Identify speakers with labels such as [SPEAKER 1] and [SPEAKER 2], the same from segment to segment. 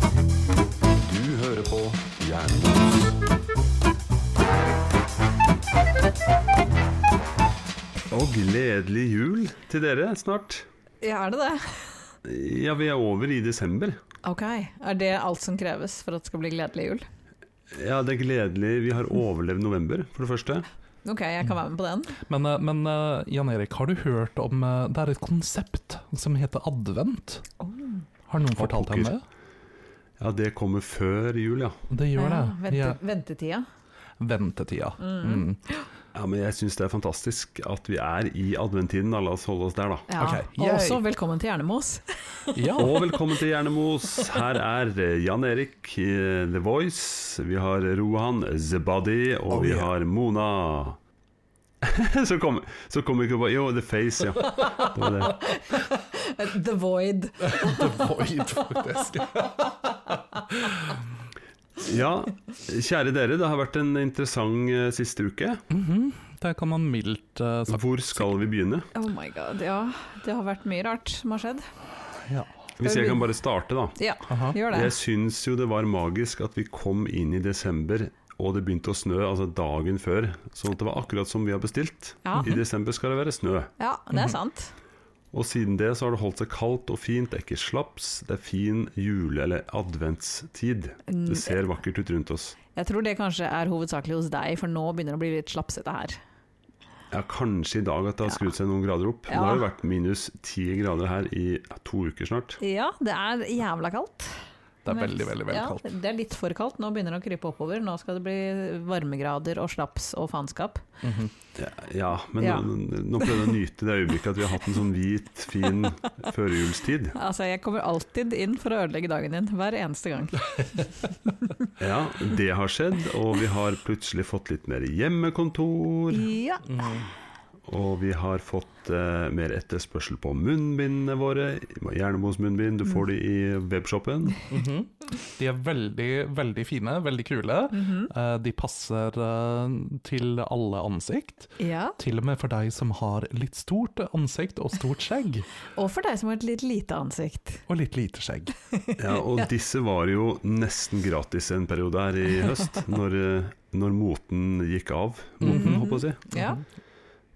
[SPEAKER 1] Du hører på Jernbos. Og gledelig jul til dere snart.
[SPEAKER 2] Ja, er det det?
[SPEAKER 1] Ja, vi er over i desember.
[SPEAKER 2] Ok. Er det alt som kreves for at det skal bli gledelig jul?
[SPEAKER 1] Ja, det er gledelig. Vi har overlevd november, for det første.
[SPEAKER 2] Ok, jeg kan være med på den.
[SPEAKER 3] Men, eh, men eh, Jan Erik, har du hørt om eh, Det er et konsept som heter advent.
[SPEAKER 2] Oh.
[SPEAKER 3] Har noen fortalt deg om det?
[SPEAKER 1] pokker. Ja, det kommer før jul, ja.
[SPEAKER 3] Det gjør det.
[SPEAKER 2] Ja, vente,
[SPEAKER 3] Ja,
[SPEAKER 2] Ventetida.
[SPEAKER 3] ventetida. Mm.
[SPEAKER 1] Ja, Men jeg syns det er fantastisk at vi er i adventtiden. Da. La oss holde oss der, da.
[SPEAKER 2] Ja.
[SPEAKER 3] Ok,
[SPEAKER 2] Og
[SPEAKER 3] yay.
[SPEAKER 2] også velkommen til Hjernemos.
[SPEAKER 3] Ja.
[SPEAKER 1] Og velkommen til Hjernemos. Her er eh, Jan Erik, eh, The Voice. Vi har Rohan, The Body.
[SPEAKER 2] Oh,
[SPEAKER 1] Og vi har Mona. så kom, så kom ikke på Jo, The Face, ja. Det var det.
[SPEAKER 2] The Void.
[SPEAKER 3] The Void, faktisk.
[SPEAKER 1] Ja, kjære dere. Det har vært en interessant eh, siste uke.
[SPEAKER 3] Det kan man mildt eh, sagt.
[SPEAKER 1] Hvor skal vi begynne?
[SPEAKER 2] Oh my god, ja. Det har vært mye rart som har skjedd.
[SPEAKER 3] Ja.
[SPEAKER 1] Hvis jeg kan bare starte, da.
[SPEAKER 2] Ja,
[SPEAKER 3] Aha.
[SPEAKER 2] gjør det.
[SPEAKER 1] Jeg syns jo det var magisk at vi kom inn i desember og det begynte å snø altså dagen før. Sånn at det var akkurat som vi har bestilt.
[SPEAKER 2] Ja.
[SPEAKER 1] I desember skal det være snø.
[SPEAKER 2] Ja,
[SPEAKER 3] Mhm.
[SPEAKER 2] det er sant.
[SPEAKER 1] Og siden det så har det holdt seg kaldt og fint. Det er ikke slaps, det er fin jule- eller adventstid.
[SPEAKER 2] Mm.
[SPEAKER 1] Det ser vakkert ut rundt oss.
[SPEAKER 2] Jeg tror det kanskje er hovedsakelig hos deg, for nå begynner det å bli litt slapsete her.
[SPEAKER 1] Ja, Kanskje i dag at det har skrudd seg noen grader opp. Men
[SPEAKER 2] Ja.
[SPEAKER 1] Det har jo vært minus ti grader her i to uker snart.
[SPEAKER 2] Ja, det er jævla kaldt.
[SPEAKER 3] Det er
[SPEAKER 2] Men-
[SPEAKER 3] veldig, veldig, veldig
[SPEAKER 2] ja,
[SPEAKER 3] kaldt.
[SPEAKER 2] Det er litt for kaldt. Nå begynner det å krype oppover. Nå skal det bli varmegrader og slaps og faenskap.
[SPEAKER 3] Mhm.
[SPEAKER 1] Ja, ja men
[SPEAKER 2] Ja.
[SPEAKER 1] Nå, nå prøvde jeg å nyte det øyeblikket at vi har hatt en sånn hvit, fin førjulstid.
[SPEAKER 2] Altså, jeg kommer alltid inn for å ødelegge dagen din. Hver eneste gang.
[SPEAKER 1] Ja, det har skjedd, og vi har plutselig fått litt mer hjemmekontor.
[SPEAKER 2] Ja.
[SPEAKER 3] Mhm.
[SPEAKER 1] Og vi har fått eh, mer etterspørsel på munnbindene våre. Jernemos munnbind, du får de i webshopen.
[SPEAKER 3] Mhm. De er veldig, veldig fine, veldig kule.
[SPEAKER 2] Mhm.
[SPEAKER 3] Eh, De passer eh, til alle ansikt.
[SPEAKER 2] ja.
[SPEAKER 3] Til og med for deg som har litt stort ansikt og stort skjegg.
[SPEAKER 2] Og for deg som har et litt lite ansikt.
[SPEAKER 3] Og litt lite skjegg.
[SPEAKER 1] Ja, og disse var jo nesten gratis en periode her i høst, når, eh, når moten gikk av. Moten, håper jeg å si.
[SPEAKER 2] Ja.
[SPEAKER 3] Mhm.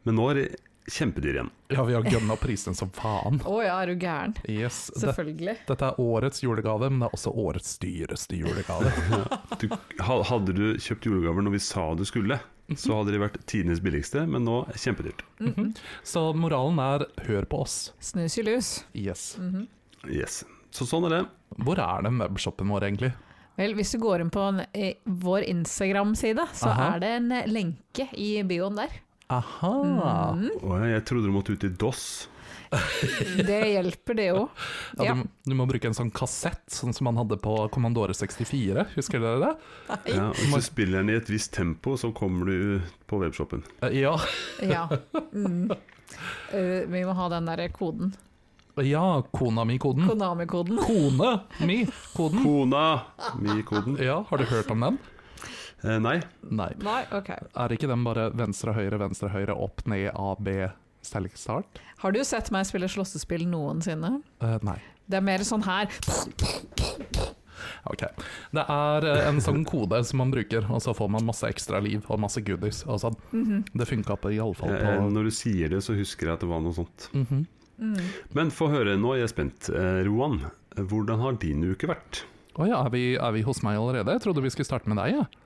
[SPEAKER 1] Men nå er de kjempedyr igjen.
[SPEAKER 3] Ja, vi har gønna prisen som faen.
[SPEAKER 2] Å ja, er du gæren?
[SPEAKER 3] Yes, det,
[SPEAKER 2] Selvfølgelig.
[SPEAKER 3] dette er årets julegave, men det er også årets dyreste julegave.
[SPEAKER 1] Du, ha- hadde du kjøpt julegaver når vi sa du skulle, så hadde de vært tidenes billigste, men nå er det kjempedyrt.
[SPEAKER 3] Så moralen er hør på oss. Mm.
[SPEAKER 2] Snus i lus.
[SPEAKER 3] Yes.
[SPEAKER 1] Yes. Så sånn er det.
[SPEAKER 3] Hvor er den webshoppen vår, egentlig?
[SPEAKER 2] Vel, hvis du går inn på en, eh, vår Instagram-side, så
[SPEAKER 3] Aha.
[SPEAKER 2] er det en eh, lenke i bioen der.
[SPEAKER 3] Aha!
[SPEAKER 1] Å ja, jeg trodde du måtte ut i DOS.
[SPEAKER 2] Det hjelper, det òg.
[SPEAKER 3] Ja,
[SPEAKER 2] Ja.
[SPEAKER 3] du, du må bruke en sånn kassett, sånn som man hadde på Commandore 64, husker dere det?
[SPEAKER 1] Ja, og hvis du spiller den i et visst tempo, så kommer du på webshopen.
[SPEAKER 3] Eh, Ja,
[SPEAKER 2] Ja. Mm. Eh, vi må ha den der koden.
[SPEAKER 3] ja kona mi-koden.
[SPEAKER 2] Konami-koden.
[SPEAKER 3] Kone mi-koden.
[SPEAKER 1] Kona! Mi-koden.
[SPEAKER 3] Ja, har du hørt om den?
[SPEAKER 1] Eh, nei.
[SPEAKER 3] Nei.
[SPEAKER 2] Nei, ok.
[SPEAKER 3] Er ikke den bare venstre, høyre, venstre, høyre, opp, ned, A, B, sterk start?
[SPEAKER 2] Har du sett meg spille slåssespill noensinne?
[SPEAKER 3] Eh, nei.
[SPEAKER 2] Det er mer sånn her.
[SPEAKER 3] Ok. Det er eh, en sånn kode som man bruker, og så får man masse ekstra liv og masse goodies og sånn. Det funka iallfall
[SPEAKER 1] Eh,
[SPEAKER 3] på
[SPEAKER 1] når du sier det, så husker jeg at det var noe sånt.
[SPEAKER 3] Mhm.
[SPEAKER 1] Men få høre, nå er jeg spent. Eh, Roan, hvordan har din uke vært?
[SPEAKER 3] Å ja, er vi, er vi hos meg allerede? Jeg trodde vi skulle starte med deg, jeg. Ja.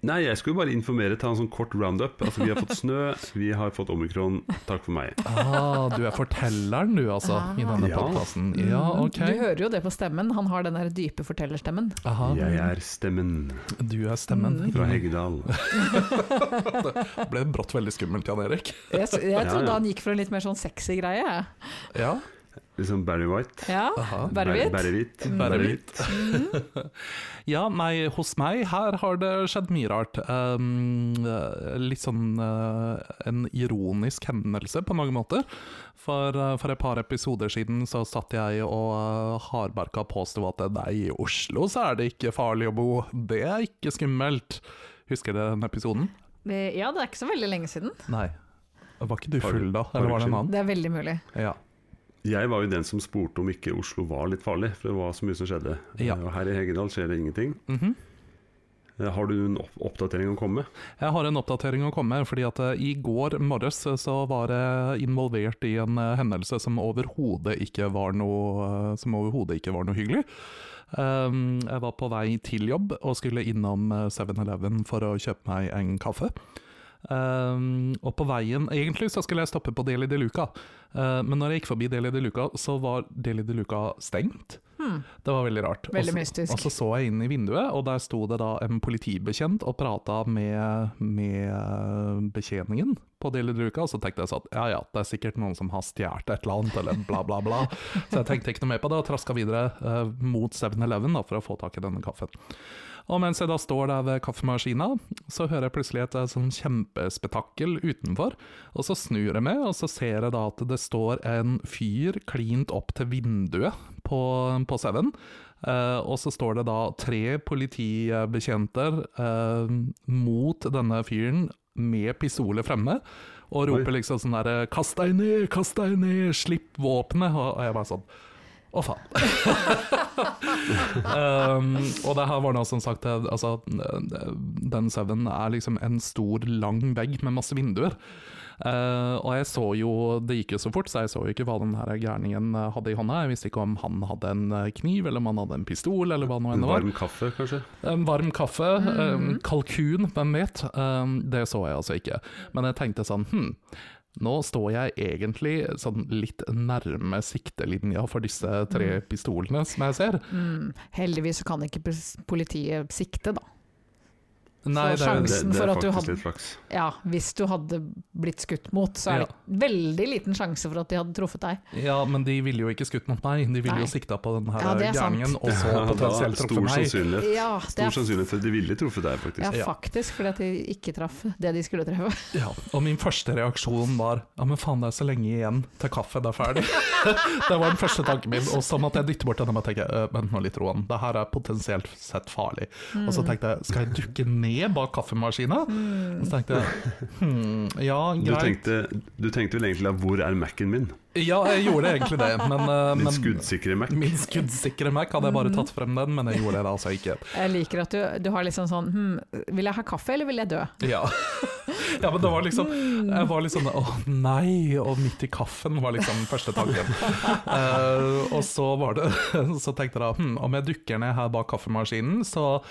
[SPEAKER 1] Nei, jeg skulle bare informere, ta en sånn kort roundup. Altså, vi har fått snø, vi har fått omikron. Takk for meg.
[SPEAKER 3] Ah, du er fortelleren du, altså, i denne
[SPEAKER 1] Ja.
[SPEAKER 3] podkasten. Ja, OK.
[SPEAKER 2] Mm, Du hører jo det på stemmen. Han har den der dype fortellerstemmen.
[SPEAKER 3] Aha,
[SPEAKER 1] Jeg er stemmen
[SPEAKER 3] du er stemmen.
[SPEAKER 1] fra Heggedal.
[SPEAKER 3] Det ble brått veldig skummelt, Jan Erik.
[SPEAKER 2] Jeg, s- jeg
[SPEAKER 1] Ja,
[SPEAKER 2] trodde
[SPEAKER 1] ja.
[SPEAKER 2] han gikk for en litt mer sånn sexy greie. jeg.
[SPEAKER 3] Ja.
[SPEAKER 1] Liksom Barry White.
[SPEAKER 2] Ja,
[SPEAKER 3] Aha.
[SPEAKER 2] bare
[SPEAKER 1] Ber-
[SPEAKER 2] hvit.
[SPEAKER 1] Berrehvit.
[SPEAKER 3] Berrehvit. Ja, nei, hos meg her har det skjedd mye rart. Um, eh, litt sånn eh, en ironisk hendelse på mange måter. For, eh, for et par episoder siden så satt jeg og eh, hardbarka påsto at nei, i Oslo så er det ikke farlig å bo. Det er ikke skummelt. Husker dere den episoden?
[SPEAKER 2] Eh, Ja, det er ikke så veldig lenge siden.
[SPEAKER 3] Nei. Var ikke du
[SPEAKER 1] Har du-
[SPEAKER 3] full da,
[SPEAKER 1] har
[SPEAKER 3] eller
[SPEAKER 1] du
[SPEAKER 3] var det en
[SPEAKER 1] skyld?
[SPEAKER 3] annen?
[SPEAKER 2] Det er veldig mulig.
[SPEAKER 3] Ja.
[SPEAKER 1] Jeg var jo den som spurte om ikke Oslo var litt farlig, for det var så mye som skjedde.
[SPEAKER 3] Ja.
[SPEAKER 1] Og her i Hegedal skjer det ingenting.
[SPEAKER 3] Mhm.
[SPEAKER 1] Eh, Har du en opp oppdatering å komme med?
[SPEAKER 3] Jeg har en oppdatering å komme med, fordi at eh, i går morges eh, så var jeg involvert i en eh, hendelse som overhodet ikke var noe eh, Som overhodet ikke var noe hyggelig. Um, Jeg var på vei til jobb og skulle innom eh, 7-Eleven for å kjøpe meg en kaffe. Um, og på veien Egentlig så skulle jeg stoppe på Deli de Luca, eh, men når jeg gikk forbi Deli de Luca, så var Deli de Luca stengt.
[SPEAKER 2] Hmm.
[SPEAKER 3] Det var veldig rart.
[SPEAKER 2] Veldig
[SPEAKER 3] Og så-
[SPEAKER 2] mystisk.
[SPEAKER 3] Og så så jeg inn i vinduet, og der sto det da en politibetjent og prata med, med eh, betjeningen på Deli de Luca, og så tenkte jeg sånn ja ja, det er sikkert noen som har stjålet et eller annet, eller bla, bla, bla. Så jeg tenkte ikke noe mer på det, og traska videre eh, mot 7-Eleven da, for å få tak i denne kaffen. Og mens jeg da står der ved kaffemaskina, så hører jeg plutselig et eh, sånn kjempespetakkel utenfor. Og så snur jeg meg, og så ser jeg da at det står en fyr klint opp til vinduet på, på Seven. Eh, og så står det da tre politibetjenter eh, mot denne fyren med pistoler fremme. Og roper liksom sånn derre 'Kast deg ned! Kast deg ned! Slipp våpenet!' Og og jeg bare sånn Å, faen. Um, og det her var da som sagt eh, altså, eh, Den sauen er liksom en stor, lang vegg med masse vinduer. Eh, og jeg så jo Det gikk jo så fort, så jeg så jo ikke hva den her gærningen eh, hadde i hånda. Jeg visste ikke om han hadde en eh, kniv, eller om han hadde en pistol, eller hva nå enn
[SPEAKER 1] En
[SPEAKER 3] det var.
[SPEAKER 1] varm kaffe, kanskje?
[SPEAKER 3] En varm kaffe, eh,
[SPEAKER 2] Mm.
[SPEAKER 3] kalkun, hvem vet? Eh, det så jeg altså ikke. Men jeg tenkte sånn hm, nå står jeg egentlig sånn litt nærme siktelinja for disse tre pistolene som jeg ser.
[SPEAKER 2] Mm. Heldigvis så kan ikke pos- politiet sikte, da.
[SPEAKER 3] Nei, det, er-
[SPEAKER 2] sjansen-
[SPEAKER 1] Det, det
[SPEAKER 2] for
[SPEAKER 1] er
[SPEAKER 2] at du
[SPEAKER 1] faktisk
[SPEAKER 2] hadde-
[SPEAKER 1] litt flaks.
[SPEAKER 2] Ja, hvis du hadde blitt skutt mot, så er det veldig liten sjanse for at de hadde truffet deg.
[SPEAKER 3] ja, men de ville jo ikke skutt mot meg, de ville
[SPEAKER 2] Nei.
[SPEAKER 3] jo sikta på den her
[SPEAKER 2] Ja, det er sant.
[SPEAKER 3] gjerningen, og så
[SPEAKER 1] Ja, da er
[SPEAKER 3] potensielt truffet
[SPEAKER 1] stor
[SPEAKER 3] meg.
[SPEAKER 1] sannsynlighet,
[SPEAKER 2] Ja, det
[SPEAKER 1] stor
[SPEAKER 2] er
[SPEAKER 1] sannsynlighet for at de ville truffet deg, faktisk.
[SPEAKER 2] ja,
[SPEAKER 3] Ja.
[SPEAKER 2] faktisk, fordi at de ikke traff det de skulle treffe.
[SPEAKER 3] Ja, og min første reaksjon var ja, men faen, det er så lenge igjen til kaffen er ferdig. det var den første tanken min, og så måtte jeg dytte bort den og tenke «Øh, vent nå litt, Roan, det her er potensielt sett farlig. Og så tenkte jeg skal jeg dukke ned bak kaffemaskina? Og så tenkte jeg hm, ja,
[SPEAKER 1] Du
[SPEAKER 3] greit.
[SPEAKER 1] tenkte, du tenkte vel egentlig da 'hvor er Mac-en min'?
[SPEAKER 3] Ja, jeg gjorde egentlig det, men, eh,
[SPEAKER 1] Din
[SPEAKER 3] men
[SPEAKER 1] skuddsikre Mac.
[SPEAKER 3] Min skuddsikre Mac hadde jeg bare tatt frem den, men jeg gjorde det altså ikke.
[SPEAKER 2] Jeg liker at du, du har liksom sånn hm, Vil jeg ha kaffe, eller vil jeg dø?
[SPEAKER 3] Ja. ja, men det var liksom Jeg var liksom Å nei! Og midt i kaffen var liksom første tanken. Eh, og så var det Så tenkte jeg da hm, om jeg dukker ned her bak kaffemaskinen, så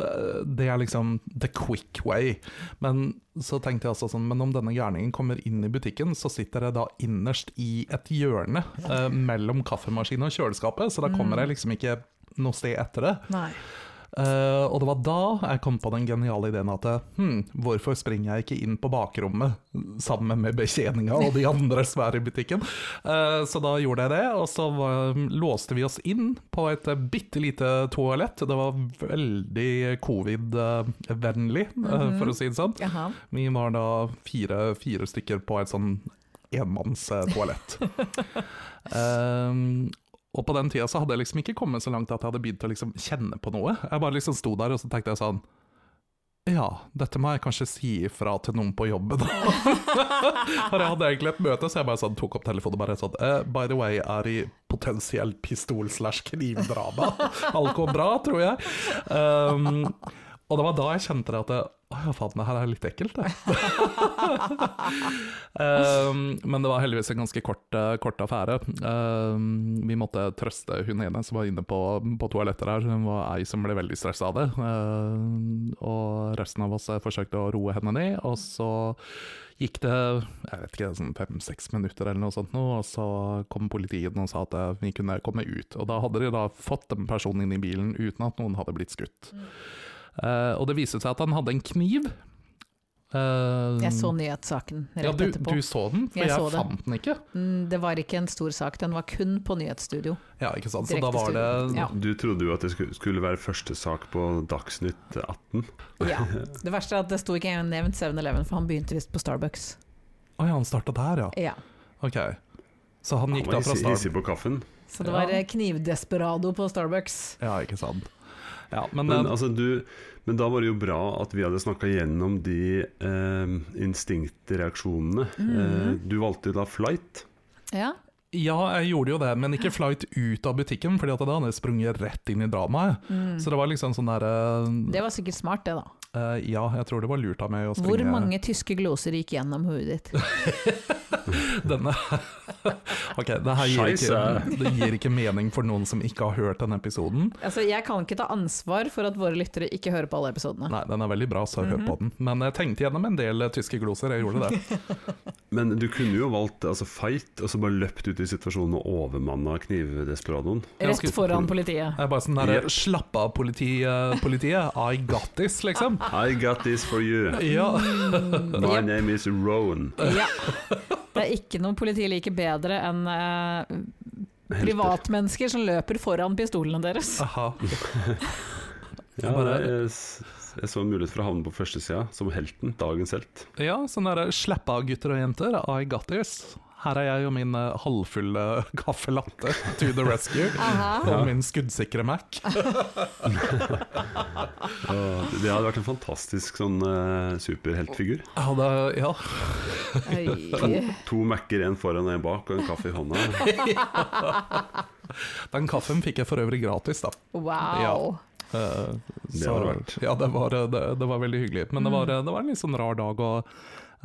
[SPEAKER 3] eh, Det er liksom the quick way. Men så tenkte jeg altså sånn Men om denne gærningen kommer inn i butikken, så sitter jeg da innerst i et hjørne eh, mellom kaffemaskinen og kjøleskapet, så da kommer jeg liksom ikke noe sted etter det.
[SPEAKER 2] Nei.
[SPEAKER 3] Eh, og det var da jeg kom på den geniale ideen at hm, hvorfor springer jeg ikke inn på bakrommet sammen med betjeninga og de andre som er i butikken? Eh, så da gjorde jeg det, og så var, låste vi oss inn på et bitte lite toalett. Det var veldig covid-vennlig, eh, for å si det sånn.
[SPEAKER 2] Jaha.
[SPEAKER 3] Vi var da fire, fire stykker på et sånn enmannstoalett. um, og på den tida så hadde jeg liksom ikke kommet så langt at jeg hadde begynt å liksom kjenne på noe. Jeg bare liksom sto der og så tenkte jeg sånn ja, dette må jeg kanskje si ifra til noen på jobben. For jeg hadde egentlig et møte, så jeg bare sånn, tok opp telefonen og bare sånn eh, By the way, er i potensielt pistol-slash-knivdrama. Alt går bra, tror jeg. Um, og det var da jeg kjente det at jeg, Å ja, faen, det her er litt ekkelt, det. um, men det var heldigvis en ganske kort, eh, kort affære. Um, vi måtte trøste hun ene som var inne på, på toalettet her. Hun var ei som ble veldig stressa av det. Um, og resten av oss eh, forsøkte å roe henne ned, og så gikk det jeg vet ikke, sånn fem-seks minutter eller noe sånt, nå, og så kom politiet og sa at eh, vi kunne komme ut. Og da hadde de da fått den personen inn i bilen uten at noen hadde blitt skutt.
[SPEAKER 2] Mm.
[SPEAKER 3] Eh, og det viste seg at han hadde en kniv. Eh,
[SPEAKER 2] Jeg så nyhetssaken rett
[SPEAKER 3] ja, du,
[SPEAKER 2] etterpå.
[SPEAKER 3] du så den, for
[SPEAKER 2] Jeg
[SPEAKER 3] jeg,
[SPEAKER 2] så det.
[SPEAKER 3] fant den ikke.
[SPEAKER 2] Mm, Det var ikke en stor sak, den var kun på nyhetsstudio.
[SPEAKER 3] Ja, ikke sant? Så da
[SPEAKER 2] Direkte
[SPEAKER 3] var det
[SPEAKER 2] studio. Ja.
[SPEAKER 1] Du trodde jo at det sku- skulle være første sak på Dagsnytt 18.
[SPEAKER 2] Ja. Det verste er at det sto ikke nevnt 7-Eleven, for han begynte visst på Starbucks.
[SPEAKER 3] Oi, han starta der, ja.
[SPEAKER 2] Ja.
[SPEAKER 3] Ok. Så han gikk
[SPEAKER 1] Han var
[SPEAKER 3] da fra
[SPEAKER 1] hissig-
[SPEAKER 3] start.
[SPEAKER 1] hissig på kaffen.
[SPEAKER 2] Så det
[SPEAKER 3] Ja.
[SPEAKER 2] var eh, knivdesperado på Starbucks.
[SPEAKER 3] Ja, ikke sant. Ja, men,
[SPEAKER 1] Men
[SPEAKER 3] eh,
[SPEAKER 1] altså, du Men da var det jo bra at vi hadde snakka gjennom de eh, instinktreaksjonene.
[SPEAKER 3] Mm.
[SPEAKER 1] Eh, du valgte jo da flight.
[SPEAKER 2] Ja.
[SPEAKER 3] Ja, jeg gjorde jo det, men ikke flight ut av butikken, fordi at da hadde jeg sprunget rett inn i dramaet. Så det var liksom sånn derre
[SPEAKER 2] Mm. Det var sikkert smart, det, da.
[SPEAKER 3] Ja, jeg tror det var lurt av meg å
[SPEAKER 2] Hvor
[SPEAKER 3] springe
[SPEAKER 2] mange tyske gloser gikk gjennom hodet ditt?
[SPEAKER 3] denne. ok, det her gir ikke,
[SPEAKER 1] Scheisse.
[SPEAKER 3] det gir ikke mening for noen som ikke har hørt denne episoden.
[SPEAKER 2] Altså, jeg kan ikke ta ansvar for at våre lyttere ikke hører på alle episodene.
[SPEAKER 3] Nei, den er veldig bra, så hør
[SPEAKER 2] Mhm.
[SPEAKER 3] på den. Men jeg tenkte gjennom en del eh, tyske gloser, jeg gjorde det.
[SPEAKER 1] Men du kunne jo valgt altså fight, og så bare løpt ut i situasjonen og overmanna knivdesperadoen.
[SPEAKER 2] Rett foran politiet.
[SPEAKER 3] Jeg bare sånn derre
[SPEAKER 1] Ja.
[SPEAKER 3] Slapp av, politi, eh, politiet. I got this, liksom.
[SPEAKER 1] I got this for you.
[SPEAKER 3] Ja.
[SPEAKER 1] My name is Rowan.
[SPEAKER 2] Ja. Det er ikke noe politiet liker bedre enn eh,
[SPEAKER 1] Helter.
[SPEAKER 2] privatmennesker som løper foran pistolene deres.
[SPEAKER 3] Aha.
[SPEAKER 1] Ja,
[SPEAKER 3] bare-
[SPEAKER 1] jeg, s- jeg så en mulighet for å havne på førstesida som helten. Dagens helt.
[SPEAKER 3] Ja, sånn derre Slapp av, gutter og jenter. I got this. Her er jeg og min eh, halvfulle caffè latte to the rescue.
[SPEAKER 2] Aha.
[SPEAKER 3] Og min skuddsikre Mac.
[SPEAKER 1] Ja, Det hadde vært en fantastisk sånn eh, superheltfigur.
[SPEAKER 3] Ja, det, ja.
[SPEAKER 2] Oi.
[SPEAKER 1] To Mac-er, en foran og en bak, og en kaffe i hånda.
[SPEAKER 3] Den kaffen fikk jeg for øvrig gratis, da.
[SPEAKER 2] Wow.
[SPEAKER 3] Eh,
[SPEAKER 1] Det
[SPEAKER 3] så-
[SPEAKER 1] har det vært.
[SPEAKER 3] Ja, det var, eh, det, det var veldig hyggelig. Men det var, det var en litt sånn rar dag. Og,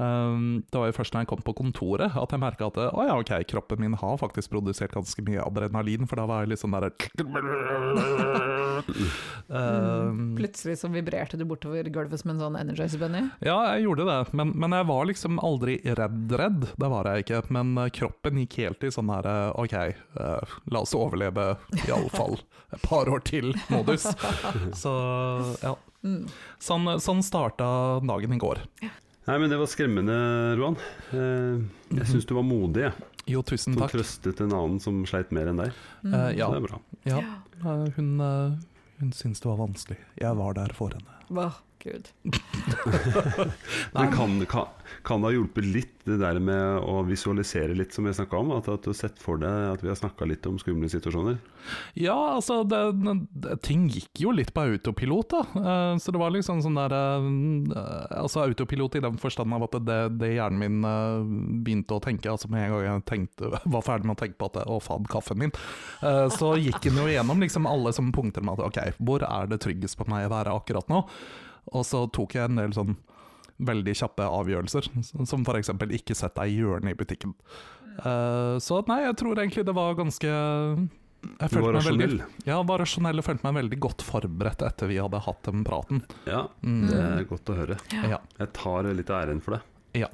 [SPEAKER 3] ehm, det var jo først da jeg kom på kontoret at jeg merka at eh, å ja, ok, kroppen min har faktisk produsert ganske mye adrenalin, for da var jeg litt sånn der Ehm,
[SPEAKER 2] Mm. Plutselig så vibrerte du bortover gulvet som en sånn Energizer Bunny.
[SPEAKER 3] ja, jeg gjorde det, men, men jeg var liksom aldri redd-redd. Det var jeg ikke. Men eh, kroppen gikk helt i sånn her eh, OK, eh, la oss overleve iallfall et par år til-modus. Så ja.
[SPEAKER 2] Mm.
[SPEAKER 3] Sånn, sånn starta dagen i går.
[SPEAKER 1] Nei, men det var skremmende, Roan. Eh, Jeg syns du var modig, jeg.
[SPEAKER 3] Jo, tusen
[SPEAKER 1] Som
[SPEAKER 3] Mhm. takk.
[SPEAKER 1] trøstet en annen som sleit mer enn deg.
[SPEAKER 2] Mm.
[SPEAKER 3] Eh, ja,
[SPEAKER 1] Så det er bra.
[SPEAKER 3] ja. Eh, hun, eh, hun syntes det var vanskelig. Jeg var der for henne.
[SPEAKER 2] Åh, Gud.
[SPEAKER 1] Men kan, kan, kan det ha hjulpet litt det der med å visualisere litt, som jeg snakka om? At, at du har sett for deg at vi har snakka litt om skumle situasjoner?
[SPEAKER 3] Ja, altså, det, det, ting gikk jo litt på autopilot, da. Eh, så det var liksom sånn der eh, Altså autopilot i den forstand av at det, det hjernen min eh, begynte å tenke Altså med en gang jeg tenkte, var ferdig med å tenke på at Å, faen, kaffen min. eh, så gikk den jo gjennom liksom alle som punkter med at OK, hvor er det tryggest på meg å være akkurat nå? Og så tok jeg en del sånn veldig kjappe avgjørelser, som f.eks. ikke sett deg i hjørnet i butikken. Eh, så nei, jeg tror egentlig det var ganske jeg
[SPEAKER 1] Du var
[SPEAKER 3] følte meg veldig-
[SPEAKER 1] rasjonell.
[SPEAKER 3] ja, var rasjonell og følte meg veldig godt forberedt etter vi hadde hatt den praten.
[SPEAKER 1] Ja,
[SPEAKER 3] Mm.
[SPEAKER 1] det er godt å høre.
[SPEAKER 3] Ja.
[SPEAKER 1] Jeg tar litt av æren for det.
[SPEAKER 3] ja.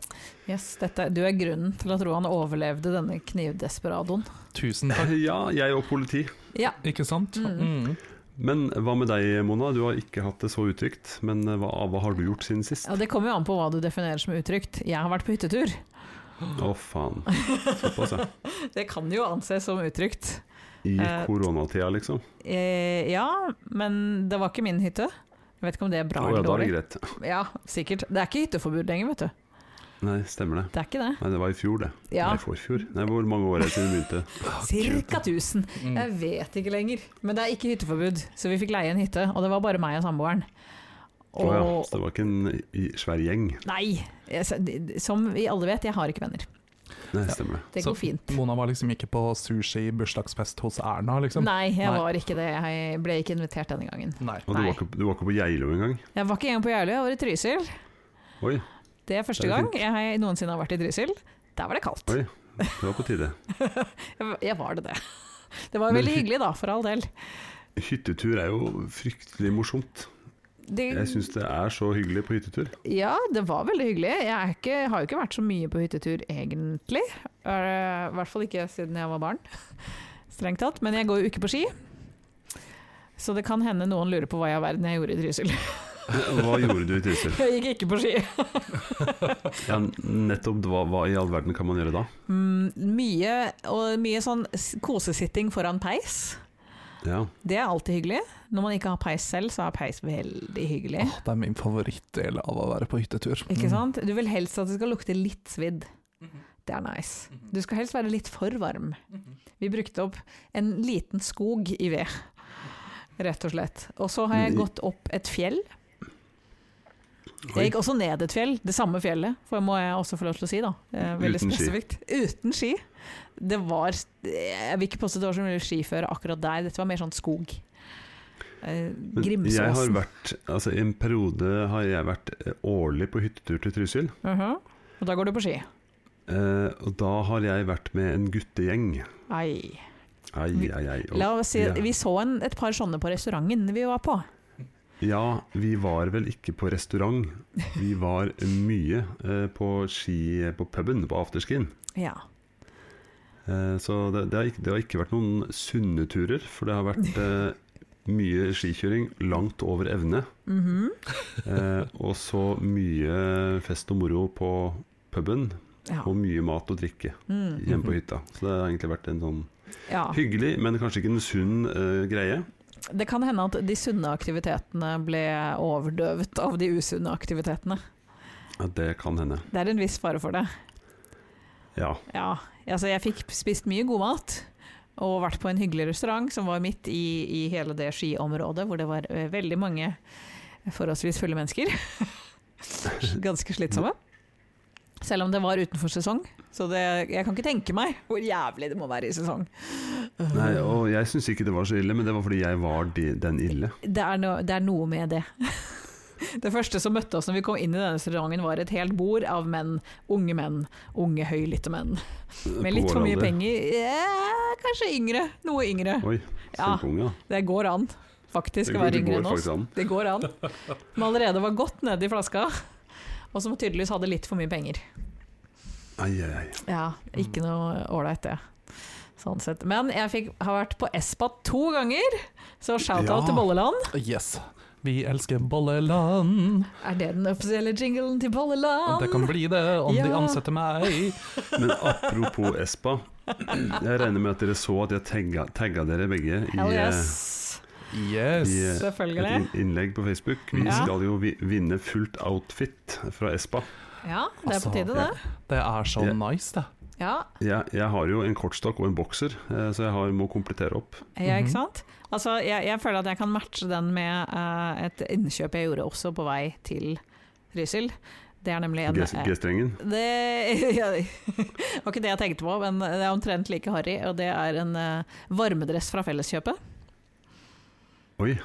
[SPEAKER 2] Yes, dette, du er grunnen til at Roan overlevde denne knivdesperadoen.
[SPEAKER 3] Tusen takk.
[SPEAKER 1] Ja, jeg og politi.
[SPEAKER 2] Ja.
[SPEAKER 3] Ikke sant? Mm.
[SPEAKER 1] Men hva med deg, Mona? Du har ikke hatt det så utrygt. Men hva, hva har du gjort siden sist? Å,
[SPEAKER 2] ja, det kommer jo an på hva du definerer som utrygt. Jeg har vært på hyttetur.
[SPEAKER 1] faen. Såpass, ja.
[SPEAKER 2] Det kan jo anses som utrygt.
[SPEAKER 1] I
[SPEAKER 2] Eh,
[SPEAKER 1] koronatida, liksom.
[SPEAKER 2] Eh, ja, men det var ikke min hytte. Jeg vet ikke om det er bra
[SPEAKER 1] Å ja,
[SPEAKER 2] eller
[SPEAKER 1] da er det
[SPEAKER 2] dårlig.
[SPEAKER 1] greit.
[SPEAKER 2] Ja, sikkert. Det er ikke hytteforbud lenger, vet du.
[SPEAKER 1] Nei, stemmer det.
[SPEAKER 2] Det er ikke det.
[SPEAKER 1] Nei, det var i fjor, det.
[SPEAKER 2] Ja.
[SPEAKER 1] Nei, forfjor. Nei, hvor mange år er det siden vi begynte?
[SPEAKER 2] Cirka 1000.
[SPEAKER 3] Mm.
[SPEAKER 2] Jeg vet ikke lenger. Men det er ikke hytteforbud, så vi fikk leie en hytte, og det var bare meg og samboeren.
[SPEAKER 1] Å ja,
[SPEAKER 2] Og
[SPEAKER 1] så det var ikke en i, svær gjeng.
[SPEAKER 2] Nei! jeg sa- Som vi alle vet, jeg har ikke venner.
[SPEAKER 1] Nei, stemmer det.
[SPEAKER 2] Det
[SPEAKER 3] Så
[SPEAKER 2] går fint.
[SPEAKER 3] Mona var liksom ikke på sushi-bursdagsfest hos Erna, liksom?
[SPEAKER 2] Nei, jeg
[SPEAKER 3] Nei.
[SPEAKER 2] var ikke det. Jeg ble ikke invitert denne gangen.
[SPEAKER 3] Nei.
[SPEAKER 1] Og du
[SPEAKER 2] Nei.
[SPEAKER 1] var, ikke, du var ikke på Geilo engang?
[SPEAKER 2] Jeg var ikke engang på Jeløya, jeg var i Trysil.
[SPEAKER 1] Oi,
[SPEAKER 2] Det er første
[SPEAKER 1] Det er
[SPEAKER 2] gang jeg noensinne har vært i Trysil. Der var det kaldt.
[SPEAKER 1] Oi. det var på tide.
[SPEAKER 2] Jeg- Jeg var det, det. Det var
[SPEAKER 1] Men
[SPEAKER 2] veldig
[SPEAKER 1] hy-
[SPEAKER 2] hyggelig, da, for all del.
[SPEAKER 1] Hyttetur er jo fryktelig morsomt. Jeg
[SPEAKER 2] Det,
[SPEAKER 1] syns det er så hyggelig på hyttetur.
[SPEAKER 2] ja, det var veldig hyggelig. Jeg er ikke, har jo ikke vært så mye på hyttetur, egentlig. Eh, I hvert fall ikke siden jeg var barn, strengt tatt. Men jeg går jo ikke på ski. Så det kan hende noen lurer på hva i all verden jeg gjorde i Trysil.
[SPEAKER 1] Hva gjorde du i Trysil?
[SPEAKER 2] Jeg gikk ikke på ski.
[SPEAKER 1] Ja, nettopp, hva, hva i all verden kan man gjøre da?
[SPEAKER 2] Mm, mye, og mye sånn s- kosesitting foran peis.
[SPEAKER 1] Ja,
[SPEAKER 2] Det er alltid hyggelig. Når man ikke har peis selv, så er peis veldig hyggelig.
[SPEAKER 3] Åh, det er min favorittdel av å være på hyttetur.
[SPEAKER 1] Mm.
[SPEAKER 2] Ikke sant? Du vil helst at det skal lukte litt svidd. Det er nice. Du skal helst være litt for varm. Vi brukte opp en liten skog i ved, rett og slett. Og så har jeg
[SPEAKER 1] Men i-
[SPEAKER 2] gått opp et fjell. Jeg gikk også ned et fjell, det samme fjellet, for må jeg også få lov til å si. da. Det er Veldig
[SPEAKER 1] Uten ski.
[SPEAKER 2] spesifikt. Uten ski. Det var Jeg vil ikke påstå det var så mye skiføre akkurat der, dette var mer sånn skog. Eh,
[SPEAKER 1] Men jeg har
[SPEAKER 2] Grimsåsen.
[SPEAKER 1] vært, altså I en periode har jeg vært eh, årlig på hyttetur til Trysil.
[SPEAKER 2] Mhm. Og da går du på ski.
[SPEAKER 1] Eh, og da har jeg vært med en guttegjeng.
[SPEAKER 2] Ai.
[SPEAKER 1] Ai,
[SPEAKER 2] Vi-
[SPEAKER 1] ai, ai. Og,
[SPEAKER 2] La oss si,
[SPEAKER 1] ja.
[SPEAKER 2] vi så en, et par sånne på restauranten vi var på.
[SPEAKER 1] ja, vi var vel ikke på restaurant. Vi var mye eh, på ski på puben, på afterskien.
[SPEAKER 2] Ja.
[SPEAKER 1] Eh, så det, det, har ikke, det har ikke vært noen sunne turer, for det har vært eh, mye skikjøring langt over evne.
[SPEAKER 2] Mhm.
[SPEAKER 1] Eh, og så mye fest og moro på puben,
[SPEAKER 2] ja.
[SPEAKER 1] og mye mat og drikke
[SPEAKER 2] Mm.
[SPEAKER 1] hjemme på hytta. Så det har egentlig vært en sånn
[SPEAKER 2] ja.
[SPEAKER 1] hyggelig, men kanskje ikke en sunn eh, greie.
[SPEAKER 2] Det kan hende at de sunne aktivitetene ble overdøvet av de usunne aktivitetene.
[SPEAKER 1] Ja, det kan hende.
[SPEAKER 2] Det er en viss fare for det.
[SPEAKER 1] Ja.
[SPEAKER 2] Ja, altså jeg fikk spist mye god mat. Og vært på en hyggelig restaurant som var midt i, i hele det skiområdet, hvor det var eh, veldig mange forholdsvis fulle mennesker. Ganske slitsomme. Selv om det var utenfor sesong. Så det, jeg kan ikke tenke meg hvor jævlig det må være i sesong. Mm.
[SPEAKER 1] Nei, og jeg syns ikke det var så ille, men det var fordi jeg var de, den ille.
[SPEAKER 2] Det er, no, det er noe med det. Det første som møtte oss når vi kom inn i denne restauranten, var et helt bord av menn. Unge menn. Unge høylytte menn. Med litt for mye penger. Eh, kanskje yngre. Noe yngre.
[SPEAKER 1] Oi,
[SPEAKER 2] Ja.
[SPEAKER 1] kjempeunge. Ja.
[SPEAKER 2] Det går an, faktisk, å være yngre enn oss. Det går an. Som allerede var godt nedi flaska, og som tydeligvis hadde litt for mye penger.
[SPEAKER 1] Ai, ai, ai.
[SPEAKER 2] Ja, ikke noe ålreit, det. Sånn sett. Men jeg fikk, har vært på Espa to ganger, så shout-out
[SPEAKER 1] Ja.
[SPEAKER 2] til Bolleland.
[SPEAKER 3] Yes. Vi elsker Bolleland.
[SPEAKER 2] Er det den offisielle jinglen til
[SPEAKER 3] Og
[SPEAKER 2] Bolleland?
[SPEAKER 3] det kan bli det om de
[SPEAKER 2] Ja.
[SPEAKER 3] ansetter meg.
[SPEAKER 1] Men apropos Espa. Jeg regner med at dere så at jeg tagga, tagga dere begge i,
[SPEAKER 2] Hell
[SPEAKER 1] eh,
[SPEAKER 2] yes.
[SPEAKER 3] Yes.
[SPEAKER 1] i eh, et
[SPEAKER 2] Selvfølgelig.
[SPEAKER 1] inn- innlegg på Facebook. Vi
[SPEAKER 2] Ja.
[SPEAKER 1] skal jo vi- vinne fullt outfit fra Espa.
[SPEAKER 2] Ja, det er
[SPEAKER 3] Altså,
[SPEAKER 2] på tide,
[SPEAKER 1] ja.
[SPEAKER 2] det.
[SPEAKER 3] Det er så
[SPEAKER 1] Ja.
[SPEAKER 3] nice, det.
[SPEAKER 2] Ja,
[SPEAKER 1] Jeg, jeg har jo en kortstokk og en bokser, eh, så jeg har, må komplettere opp.
[SPEAKER 2] Ja,
[SPEAKER 3] Mhm.
[SPEAKER 2] ikke sant? Altså, jeg, jeg føler at jeg kan matche den med eh, et innkjøp jeg gjorde også på vei til Trysil. Det er nemlig en eh,
[SPEAKER 1] G- G-strengen.
[SPEAKER 2] Det ja, det var ikke det jeg tenkte på, men det er omtrent like harry. Og det er en eh, varmedress fra Felleskjøpet.
[SPEAKER 1] Oi.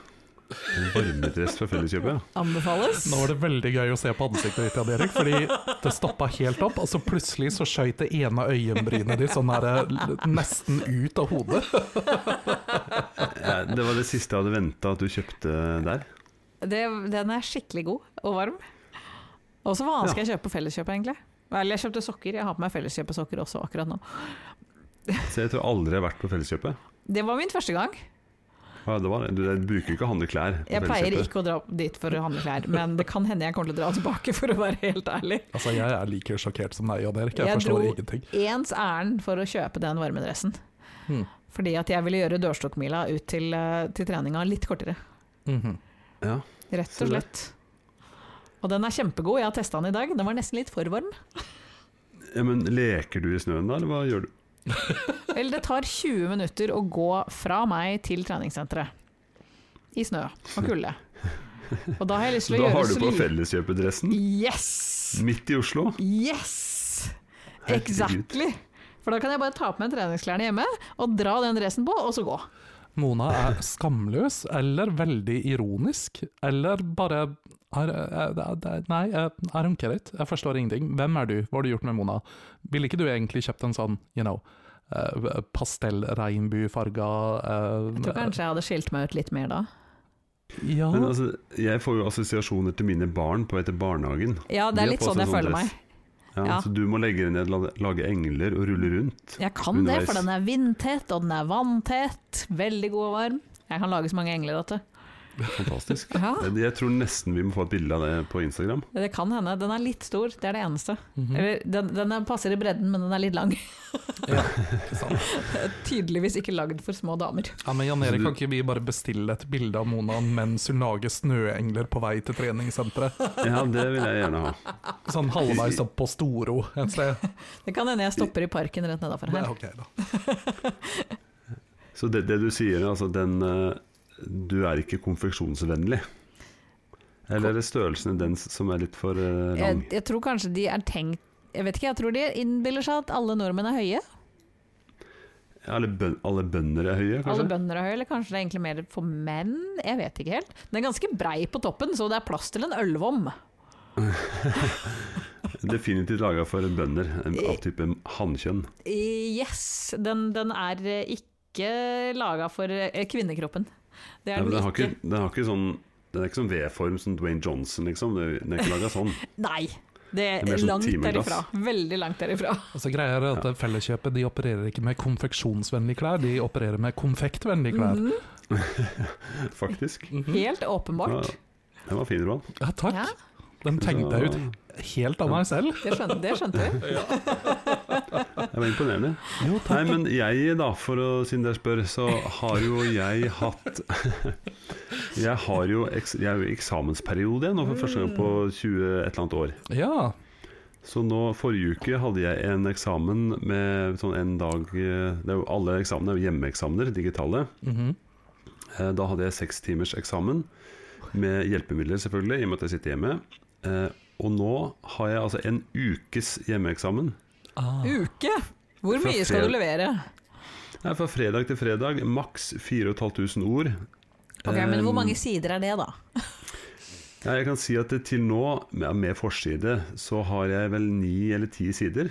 [SPEAKER 1] En varmedress fra Felleskjøpet, ja.
[SPEAKER 2] Anbefales.
[SPEAKER 3] Nå var det veldig gøy å se på ansiktet ditt, Jan Erik, fordi det stoppa helt opp, og så plutselig så skøyt det ene øyenbrynet ditt sånn her l- nesten ut av hodet.
[SPEAKER 1] Ja, Det var det siste jeg hadde venta at du kjøpte der.
[SPEAKER 2] Det- den er skikkelig god og varm. Og så hva annet skal jeg kjøpe på Felleskjøpet, egentlig? Vel, jeg kjøpte sokker. Jeg har på meg Felleskjøpet-sokker også akkurat nå.
[SPEAKER 1] Så jeg tror aldri jeg har vært på Felleskjøpet.
[SPEAKER 2] Det var min første gang.
[SPEAKER 1] Ja, det var, det. du jeg bruker ikke å handle klær på
[SPEAKER 2] Jeg pleier
[SPEAKER 1] Felleskjøpet.
[SPEAKER 2] ikke å dra dit for å handle klær, men det kan hende jeg kommer til å dra tilbake, for å være helt ærlig.
[SPEAKER 3] Altså, jeg er like sjokkert som deg, Jan Erik. Jeg,
[SPEAKER 2] Jeg
[SPEAKER 3] forstår
[SPEAKER 2] dro-
[SPEAKER 3] ingenting.
[SPEAKER 2] Ens ærend for å kjøpe den varmedressen.
[SPEAKER 3] Mhm.
[SPEAKER 2] Fordi at jeg ville gjøre dørstokkmila ut til, eh, til treninga litt kortere,
[SPEAKER 3] Mhm.
[SPEAKER 1] Ja.
[SPEAKER 2] rett
[SPEAKER 1] Se
[SPEAKER 2] og
[SPEAKER 1] der.
[SPEAKER 2] slett. Og den er kjempegod, jeg har testa den i dag. Den var nesten litt for varm.
[SPEAKER 1] ja, Men leker du i snøen da, eller hva gjør du?
[SPEAKER 2] Eller det tar 20 minutter å gå fra meg til treningssenteret. I snø og kulde. Og da har jeg lyst til å
[SPEAKER 1] Da
[SPEAKER 2] gjøre
[SPEAKER 1] har du på
[SPEAKER 2] li-
[SPEAKER 1] Felleskjøpet-dressen,
[SPEAKER 2] Yes!
[SPEAKER 1] midt i Oslo.
[SPEAKER 2] Yes!
[SPEAKER 1] Herregud.
[SPEAKER 2] Exactly! For da kan jeg bare ta på meg treningsklærne hjemme og dra den dressen på, og så gå.
[SPEAKER 3] Mona er skamløs, eller veldig ironisk, eller bare er, er, er, Nei, er er hun ikke rett? Jeg forstår ingenting. Hvem er du? Hva har du gjort med Mona? Ville ikke du egentlig kjøpt en sånn, you know, eh, pastellregnbuefarga eh,
[SPEAKER 2] Jeg tror kanskje jeg hadde skilt meg ut litt mer da.
[SPEAKER 3] Ja.
[SPEAKER 1] Men altså, jeg får jo assosiasjoner til mine barn på vei til barnehagen.
[SPEAKER 2] Ja, det
[SPEAKER 1] De
[SPEAKER 2] er
[SPEAKER 1] har
[SPEAKER 2] litt
[SPEAKER 1] på
[SPEAKER 2] sånn
[SPEAKER 1] seg
[SPEAKER 2] jeg
[SPEAKER 1] sånn
[SPEAKER 2] føler
[SPEAKER 1] dress.
[SPEAKER 2] meg.
[SPEAKER 1] Ja,
[SPEAKER 2] Ja.
[SPEAKER 1] Så du må legge deg ned, la- lage engler og rulle rundt.
[SPEAKER 2] Jeg kan det,
[SPEAKER 1] Underveis.
[SPEAKER 2] for den er vindtett, og den er vanntett. Veldig god og varm. Jeg kan lage så mange engler at det.
[SPEAKER 1] Fantastisk.
[SPEAKER 2] Ja,
[SPEAKER 1] Jeg jeg tror nesten vi må få et bilde av det på Instagram.
[SPEAKER 2] det kan hende. Den er litt stor, det er det eneste.
[SPEAKER 3] Mhm.
[SPEAKER 2] Eller den, den er- passer i bredden, men den er litt lang.
[SPEAKER 3] ja. ikke sant?
[SPEAKER 2] Tydeligvis ikke lagd for små damer.
[SPEAKER 3] Sånn. Ja, men Jan Erik, kan ikke vi bare bestille et bilde av Mona mens hun lager snøengler på vei til treningssenteret?
[SPEAKER 1] Ja, det vil jeg gjerne ha.
[SPEAKER 3] Sånn halvveis opp på Storo et sted.
[SPEAKER 2] Det kan hende jeg stopper i parken rett nedafor
[SPEAKER 3] Det
[SPEAKER 2] her.
[SPEAKER 3] er ok, da.
[SPEAKER 1] Så det, det du sier, altså den eh, Du er ikke konfeksjonsvennlig. Eller er det størrelsen i den s- som er litt for eh, lang?
[SPEAKER 2] Jeg, jeg tror kanskje de er tenkt Jeg vet ikke, jeg tror de innbiller seg at alle nordmenn er høye.
[SPEAKER 1] Alle, bøn alle bønder er høye,
[SPEAKER 2] Eh, Alle
[SPEAKER 1] kanskje?
[SPEAKER 2] bønder er høye, eller kanskje det er egentlig mer for menn? Jeg vet ikke helt. Den er ganske brei på toppen, så det er plass til en ølvom.
[SPEAKER 1] Definitivt laga for bønder eh, av type hannkjønn.
[SPEAKER 2] Eh, Yes, den, den er eh, ikke laga for eh, kvinnekroppen. Det
[SPEAKER 1] Nei,
[SPEAKER 2] er
[SPEAKER 1] men
[SPEAKER 2] den
[SPEAKER 1] den har
[SPEAKER 2] ikke.
[SPEAKER 1] ikke, den har ikke sånn den er ikke sånn V-form som Dwayne Johnson, liksom. Den er ikke laga sånn.
[SPEAKER 2] Nei, det
[SPEAKER 1] Det er mer
[SPEAKER 2] er
[SPEAKER 1] sånn
[SPEAKER 2] langt
[SPEAKER 1] timeglass.
[SPEAKER 2] derifra. Veldig langt derifra.
[SPEAKER 3] Altså greia er at Felleskjøpet de opererer ikke med konfeksjonsvennlige klær, de opererer med konfektvennlige klær.
[SPEAKER 1] Faktisk.
[SPEAKER 2] Helt åpenbart.
[SPEAKER 1] Ja, den var fin, Roan.
[SPEAKER 3] Ja, takk!
[SPEAKER 2] Ja,
[SPEAKER 3] Den tenkte jeg ut helt av meg selv.
[SPEAKER 2] det skjønte, det skjønte vi.
[SPEAKER 1] Det var imponerende.
[SPEAKER 3] Jo,
[SPEAKER 1] Nei, men jeg da, for å siden dere spør, så har jo jeg hatt Jeg har jo eks, jeg er jo i eksamensperiode nå for første gang på 20 et eller annet år.
[SPEAKER 3] Ja.
[SPEAKER 1] Så nå forrige uke hadde jeg en eksamen med sånn en dag eh, det er jo Alle eksamener er jo hjemmeeksamener, digitale.
[SPEAKER 3] mhm.
[SPEAKER 1] Eh, Da hadde jeg seks timers eksamen med hjelpemidler, selvfølgelig, i og med at jeg sitter hjemme. Eh, Og nå har jeg altså en ukes hjemmeeksamen.
[SPEAKER 3] ah.
[SPEAKER 2] Uke! Hvor
[SPEAKER 1] Fra
[SPEAKER 2] mye skal
[SPEAKER 1] fred-
[SPEAKER 2] du levere?
[SPEAKER 1] Det er fra fredag til fredag, maks 4500 ord.
[SPEAKER 2] Ok, Men hvor
[SPEAKER 1] Eh,
[SPEAKER 2] mange sider er det, da?
[SPEAKER 1] Ja, jeg kan si at det til nå, med med forside, så har jeg vel ni eller ti sider.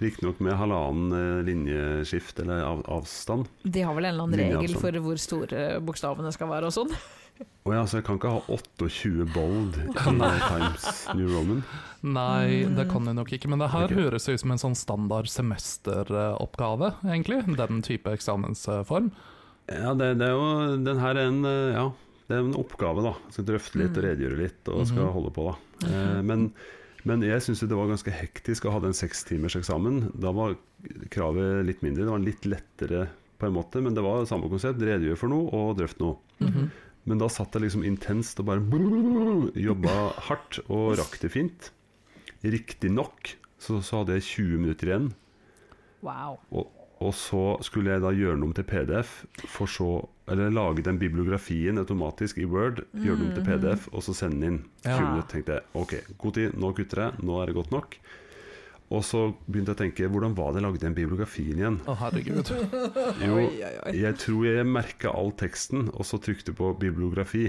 [SPEAKER 1] Riktignok med halvannen eh, linjeskift eller av, avstand.
[SPEAKER 2] De har vel en eller annen
[SPEAKER 1] Linje,
[SPEAKER 2] regel
[SPEAKER 1] altså.
[SPEAKER 2] for hvor store eh, bokstavene skal være og sånn.
[SPEAKER 1] Og ja, så jeg kan ikke ha 28 bold i Times New Roman.
[SPEAKER 3] Nei, det kan jeg nok ikke. Men det her
[SPEAKER 1] Ok.
[SPEAKER 3] høres ut som en sånn standard semesteroppgave, egentlig. Den type eksamensform.
[SPEAKER 1] Ja, det, det er jo Den her er en eh, Ja, det er en oppgave, da. Skal drøfte litt og redegjøre litt og skal holde på, da. Eh, Men, men jeg syns det var ganske hektisk å ha den sekstimers eksamen. Da var kravet litt mindre. Det var litt lettere på en måte, men det var samme konsept. Redegjør for noe og drøft noe.
[SPEAKER 3] Mhm.
[SPEAKER 1] Men da satt jeg liksom intenst og bare jobba hardt og rakk det fint. Riktignok så, så hadde jeg 20 minutter igjen.
[SPEAKER 2] Wow.
[SPEAKER 1] Og, og så skulle jeg da gjøre noe om til PDF, for så Eller lage den bibliografien automatisk i Word, gjøre noe om til PDF, og så sende den inn. 20
[SPEAKER 3] Ja.
[SPEAKER 1] minutter tenkte jeg OK, god tid, nå kutter jeg, nå er det godt nok. Og så begynte jeg å tenke hvordan var det jeg lagde den bibliografien igjen?
[SPEAKER 3] Å, herregud.
[SPEAKER 1] Jo, jeg tror jeg merka all teksten, og så trykte på bibliografi.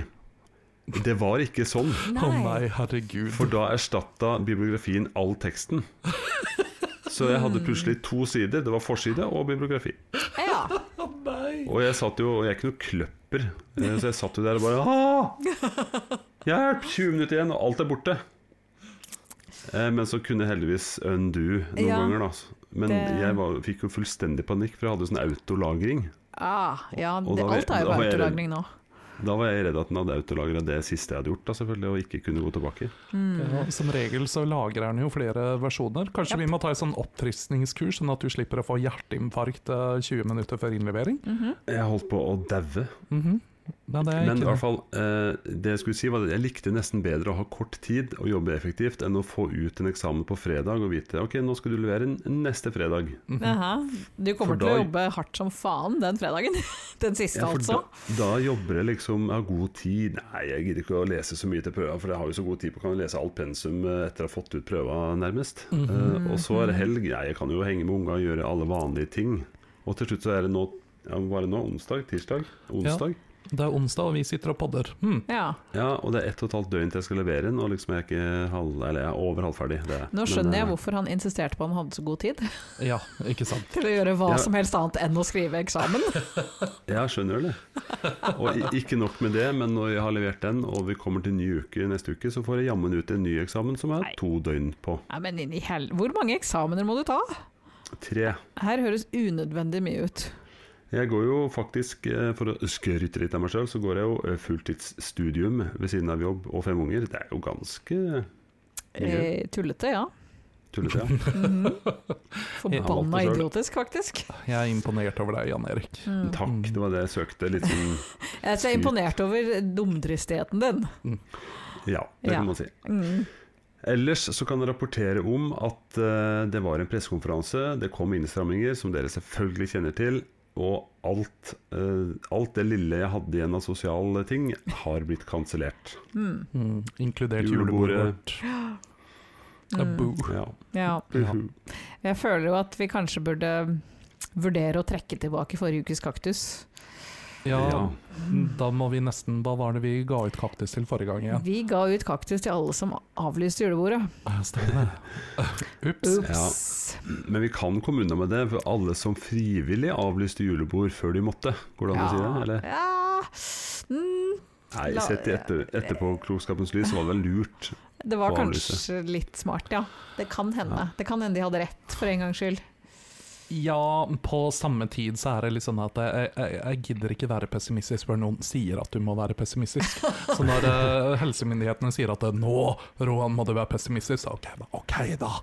[SPEAKER 1] Det var ikke sånn,
[SPEAKER 3] Å nei, herregud.
[SPEAKER 1] for da erstatta bibliografien all teksten. Så jeg hadde plutselig to sider. Det var forside og bibliografi.
[SPEAKER 2] Ja.
[SPEAKER 1] Og jeg satt jo, og jeg er ikke noe kløpper, eh, så jeg satt jo der og bare «Ah! Hjelp! 20 minutter igjen, og alt er borte. Eh, Men så kunne jeg heldigvis undo noen
[SPEAKER 2] Ja,
[SPEAKER 1] ganger, da. Men
[SPEAKER 2] det-
[SPEAKER 1] jeg var, fikk jo fullstendig panikk, for jeg hadde jo sånn autolagring.
[SPEAKER 2] Ah, ja
[SPEAKER 1] Og
[SPEAKER 2] det,
[SPEAKER 1] da var-
[SPEAKER 2] alt er
[SPEAKER 1] da
[SPEAKER 2] jo
[SPEAKER 1] var jeg redd.
[SPEAKER 2] autolagring nå.
[SPEAKER 1] Da var jeg redd at den hadde autolagra det siste jeg hadde gjort, da, selvfølgelig, og ikke kunne gå tilbake.
[SPEAKER 3] Ja, som regel så lagrer den jo flere versjoner. Kanskje vi må ta et sånn oppfriskningskurs, sånn at du slipper å få hjerteinfarkt eh, 20 minutter før innlevering.
[SPEAKER 1] Jeg holdt på å daue.
[SPEAKER 3] Mhm. Nei, det er
[SPEAKER 1] Men i
[SPEAKER 3] ikke
[SPEAKER 1] hvert fall, eh, det jeg skulle si var at jeg likte nesten bedre å ha kort tid og jobbe effektivt enn å få ut en eksamen på fredag og vite ok, nå skal du levere den neste fredag.
[SPEAKER 2] Aha. Du kommer
[SPEAKER 1] Mhm. For
[SPEAKER 2] til å
[SPEAKER 1] da-
[SPEAKER 2] jobbe hardt som faen den fredagen. Den siste,
[SPEAKER 1] Ja, for
[SPEAKER 2] altså.
[SPEAKER 1] Da, da jobber jeg liksom, jeg har god tid Nei, jeg gidder ikke å lese så mye til prøva, for jeg har jo så god tid på å kan lese alt pensum eh, etter å ha fått ut prøva, nærmest.
[SPEAKER 2] Mhm.
[SPEAKER 1] Eh, og så er det helg. Nei, jeg kan jo henge med unga og gjøre alle vanlige ting. Og til slutt så er det nå ja, Var det nå onsdag? Tirsdag? Onsdag?
[SPEAKER 3] Det er onsdag, og vi sitter og podder. Hmm.
[SPEAKER 2] Ja.
[SPEAKER 1] Ja. og det er ett og et halvt døgn til jeg skal levere den, og liksom jeg er ikke halv, eller jeg er over halvferdig. Det er jeg.
[SPEAKER 2] Nå
[SPEAKER 1] Men,
[SPEAKER 2] skjønner
[SPEAKER 1] eh,
[SPEAKER 2] jeg hvorfor han insisterte på at han hadde så god tid
[SPEAKER 3] Ja, ikke sant.
[SPEAKER 2] til å gjøre hva
[SPEAKER 1] Ja.
[SPEAKER 2] som helst annet enn å skrive eksamen.
[SPEAKER 1] Ja, skjønner du det. Og i- ikke nok med det, men når jeg har levert den, og vi kommer til ny uke neste uke, så får jeg jammen ut en ny eksamen som jeg
[SPEAKER 2] Nei.
[SPEAKER 1] har to døgn på.
[SPEAKER 2] Nei, men inn i hel... Hvor mange eksamener må du ta?
[SPEAKER 1] Tre.
[SPEAKER 2] Her høres unødvendig mye ut.
[SPEAKER 1] Jeg går jo faktisk, eh, for å skryte litt av meg sjøl, så går jeg jo eh, fulltidsstudium ved siden av jobb og fem unger. Det er jo ganske
[SPEAKER 2] Eh, tullete, ja.
[SPEAKER 1] tullete. Ja.
[SPEAKER 2] Forbanna
[SPEAKER 1] Jeg valgte selv.
[SPEAKER 2] idiotisk, faktisk.
[SPEAKER 3] Jeg er imponert over deg, Jan Erik.
[SPEAKER 2] Mm.
[SPEAKER 1] Takk, det var det jeg søkte. Litt sånn
[SPEAKER 2] Jeg er så imponert over dumdristigheten din.
[SPEAKER 1] Ja, det
[SPEAKER 2] Ja.
[SPEAKER 1] kan man si.
[SPEAKER 2] Mm.
[SPEAKER 1] Ellers så kan jeg rapportere om at eh, det var en pressekonferanse. Det kom innstramminger, som dere selvfølgelig kjenner til. Og alt, eh, alt det lille jeg hadde igjen av sosiale ting, har blitt kansellert.
[SPEAKER 3] Mm, inkludert
[SPEAKER 1] Julebordet.
[SPEAKER 3] julebordet vårt. Det er boo.
[SPEAKER 1] Ja.
[SPEAKER 2] Ja.
[SPEAKER 3] Ja.
[SPEAKER 2] Jeg føler jo at vi kanskje burde vurdere å trekke tilbake forrige ukes kaktus.
[SPEAKER 3] Ja,
[SPEAKER 1] Ja.
[SPEAKER 3] da må vi nesten Hva var det vi ga ut kaktus til forrige gang igjen?
[SPEAKER 2] Vi ga ut kaktus til alle som avlyste julebordet.
[SPEAKER 3] Ah, Stemmer. Ups.
[SPEAKER 2] Ups.
[SPEAKER 1] Men vi kan komme unna med det, for alle som frivillig avlyste julebord før de måtte. Går det an å si det? Eller?
[SPEAKER 2] Ja. Mm,
[SPEAKER 1] Nei,
[SPEAKER 2] La-
[SPEAKER 1] sett i etter, etterpåklokskapens lys, så var det vel lurt.
[SPEAKER 2] det var
[SPEAKER 1] Å
[SPEAKER 2] kanskje litt smart, ja. Det kan hende. Det kan hende de hadde rett, for en gangs skyld.
[SPEAKER 3] Ja, på samme tid så er det litt sånn at jeg, jeg, jeg gidder ikke være pessimistisk før noen sier at du må være pessimistisk. Så når eh, helsemyndighetene sier at eh, nå, Roan, må du være pessimistisk, så ok, da. Ok, da.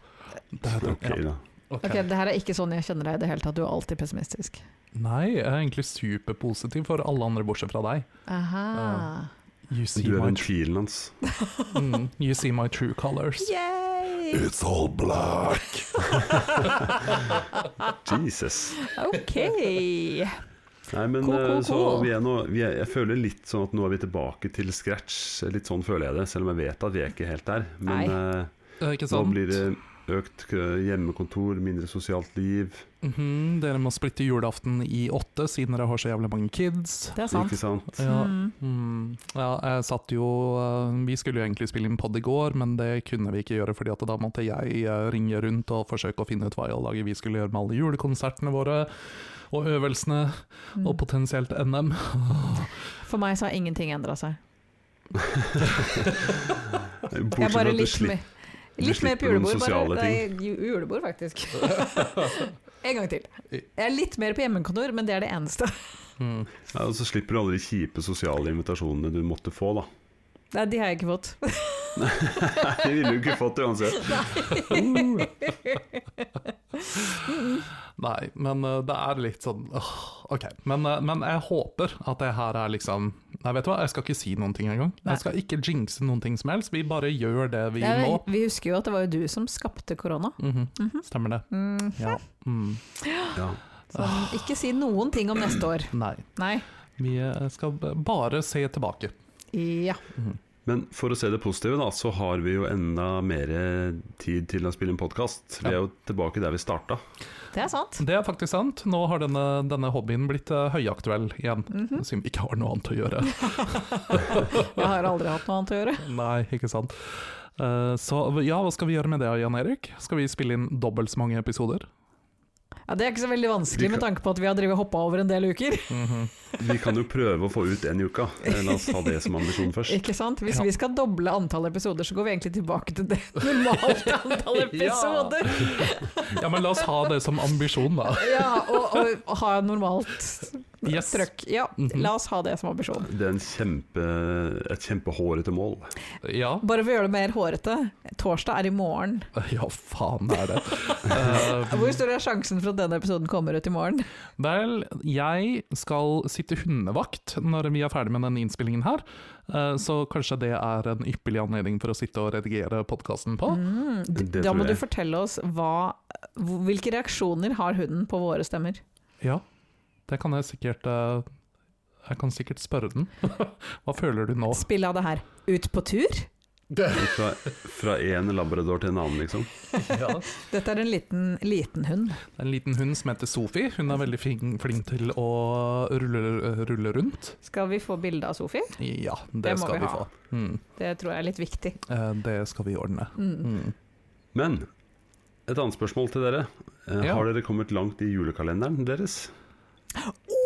[SPEAKER 3] Det, det,
[SPEAKER 1] Ok,
[SPEAKER 3] ja,
[SPEAKER 1] da.
[SPEAKER 3] ok.
[SPEAKER 2] Ok, Det her er ikke sånn jeg kjenner deg i det hele tatt, du er alltid pessimistisk.
[SPEAKER 3] Nei, jeg er egentlig superpositiv for alle andre bortsett fra deg.
[SPEAKER 2] Aha.
[SPEAKER 3] You see,
[SPEAKER 1] Du er
[SPEAKER 3] my,
[SPEAKER 1] den
[SPEAKER 3] tr-
[SPEAKER 1] tvilen hans.
[SPEAKER 3] mm, you see my true colors.
[SPEAKER 2] Yay!
[SPEAKER 3] It's all black.
[SPEAKER 1] Jesus.
[SPEAKER 2] Ok.
[SPEAKER 1] Nei, men
[SPEAKER 2] Cool, cool,
[SPEAKER 1] eh, så
[SPEAKER 2] cool.
[SPEAKER 1] vi er nå vi er, Jeg føler litt sånn at nå er vi tilbake til scratch. Litt sånn føler jeg det, selv om jeg vet at vi er ikke helt der. Men eh,
[SPEAKER 3] Eh, Ikke
[SPEAKER 1] nå
[SPEAKER 3] sant?
[SPEAKER 1] blir det økt eh, hjemmekontor, mindre sosialt liv.
[SPEAKER 3] Mhm, dere må splitte julaften i åtte, siden dere har så jævlig mange kids.
[SPEAKER 2] Det er sant.
[SPEAKER 1] Ikke sant?
[SPEAKER 3] Ja.
[SPEAKER 2] Mm.
[SPEAKER 3] Mm, ja, jeg satt jo eh, Vi skulle jo egentlig spille inn pod i går, men det kunne vi ikke gjøre, fordi at da måtte jeg eh, ringe rundt og forsøke å finne ut hva i all dag vi skulle gjøre med alle julekonsertene våre og øvelsene, og
[SPEAKER 2] Mm.
[SPEAKER 3] potensielt NM.
[SPEAKER 2] For meg så har ingenting endra seg. Jeg
[SPEAKER 1] Bortsett
[SPEAKER 2] er
[SPEAKER 1] fra
[SPEAKER 2] bare
[SPEAKER 1] at du
[SPEAKER 2] litt,
[SPEAKER 1] slipper
[SPEAKER 2] mer-
[SPEAKER 1] du
[SPEAKER 2] litt mer på
[SPEAKER 1] slipper noen
[SPEAKER 2] julebord.
[SPEAKER 1] sosiale
[SPEAKER 2] Bare, nei, ju- julebord, faktisk. en gang til. Jeg er litt mer på hjemmekontor, men det er det eneste.
[SPEAKER 3] Mm.
[SPEAKER 1] ja, Og så slipper du alle de kjipe sosiale invitasjonene du måtte få, da.
[SPEAKER 2] Nei, de har jeg ikke fått.
[SPEAKER 1] Det ville du ikke fått uansett.
[SPEAKER 3] Nei, men eh, det er litt sånn åh, Ok, men, eh, men jeg håper at det her er liksom Nei, vet du hva, jeg skal ikke si noen ting engang.
[SPEAKER 2] Nei.
[SPEAKER 3] Jeg skal ikke jinxe noen ting som helst, vi bare gjør det vi
[SPEAKER 2] Ja,
[SPEAKER 3] må.
[SPEAKER 2] vi- vi husker jo at det var jo du som skapte korona.
[SPEAKER 3] Mhm, Stemmer det.
[SPEAKER 2] Mm,
[SPEAKER 3] Ja. Mm.
[SPEAKER 1] Ja.
[SPEAKER 2] så ikke si noen ting om neste år.
[SPEAKER 3] Nei.
[SPEAKER 2] Nei.
[SPEAKER 3] Vi eh, skal b- bare se tilbake.
[SPEAKER 2] Ja.
[SPEAKER 1] Men for å se det positive, da, så har vi jo enda mer tid til å spille en podkast. Vi er jo tilbake der vi starta.
[SPEAKER 2] Det er sant.
[SPEAKER 3] Det er faktisk sant. Nå har denne, denne hobbyen blitt eh, høyaktuell igjen, siden vi ikke har noe annet å gjøre.
[SPEAKER 2] Jeg har aldri hatt noe annet å gjøre.
[SPEAKER 3] Nei, ikke sant. Eh, så ja, hva skal vi gjøre med det, Jan Erik? Skal vi spille inn dobbelt så mange episoder?
[SPEAKER 2] Ja, det er ikke så veldig vanskelig med tanke på at vi har drevet hoppa over en del uker.
[SPEAKER 1] Vi kan jo prøve å få ut en i uka. Eh, La oss ta det som ambisjon først.
[SPEAKER 2] Ikke sant? Hvis
[SPEAKER 3] Ja.
[SPEAKER 2] vi skal doble antall episoder, så går vi egentlig tilbake til det normale antall episoder.
[SPEAKER 3] Ja, men la oss ha det som ambisjon, da.
[SPEAKER 2] Ja, og, og ha normalt
[SPEAKER 3] Yes.
[SPEAKER 2] trøkk. Ja,
[SPEAKER 3] Mhm.
[SPEAKER 2] la oss ha det som ambisjon.
[SPEAKER 1] Det er en kjempe, et kjempehårete mål.
[SPEAKER 3] Ja,
[SPEAKER 2] Bare for å gjøre det mer hårete, torsdag er i morgen.
[SPEAKER 3] ja faen det er det. Eh,
[SPEAKER 2] Hvor stor er sjansen for at denne episoden kommer ut i morgen?
[SPEAKER 3] vel, jeg skal sitte hundevakt når vi er ferdig med denne innspillingen her, eh, så kanskje det er en ypperlig anledning for å sitte og redigere podkasten på.
[SPEAKER 2] Mm, d-
[SPEAKER 1] Det
[SPEAKER 2] da
[SPEAKER 1] tror
[SPEAKER 2] må du
[SPEAKER 1] jeg.
[SPEAKER 2] fortelle oss hva, hv- hvilke reaksjoner har hunden på våre stemmer.
[SPEAKER 3] Ja, det kan jeg sikkert eh, Jeg kan sikkert spørre den. Hva føler du nå?
[SPEAKER 2] Spill av det her. Ut på tur?
[SPEAKER 1] Fra, fra en labrador til en annen, liksom.
[SPEAKER 2] Dette er en liten, liten hund.
[SPEAKER 3] Det er en liten hund som heter Sophie. Hun er veldig fin, flink til å rulle, rulle rundt.
[SPEAKER 2] Skal vi få bilde av Sofie?
[SPEAKER 3] Ja, det,
[SPEAKER 2] Det må
[SPEAKER 3] skal
[SPEAKER 2] vi
[SPEAKER 3] vi,
[SPEAKER 2] ha.
[SPEAKER 3] få. Mm.
[SPEAKER 2] Det tror jeg er litt viktig.
[SPEAKER 3] Eh, det skal vi ordne.
[SPEAKER 2] Mm.
[SPEAKER 3] Mm.
[SPEAKER 1] Men et annet spørsmål til dere. Eh,
[SPEAKER 3] Ja.
[SPEAKER 1] Har dere kommet langt i julekalenderen deres?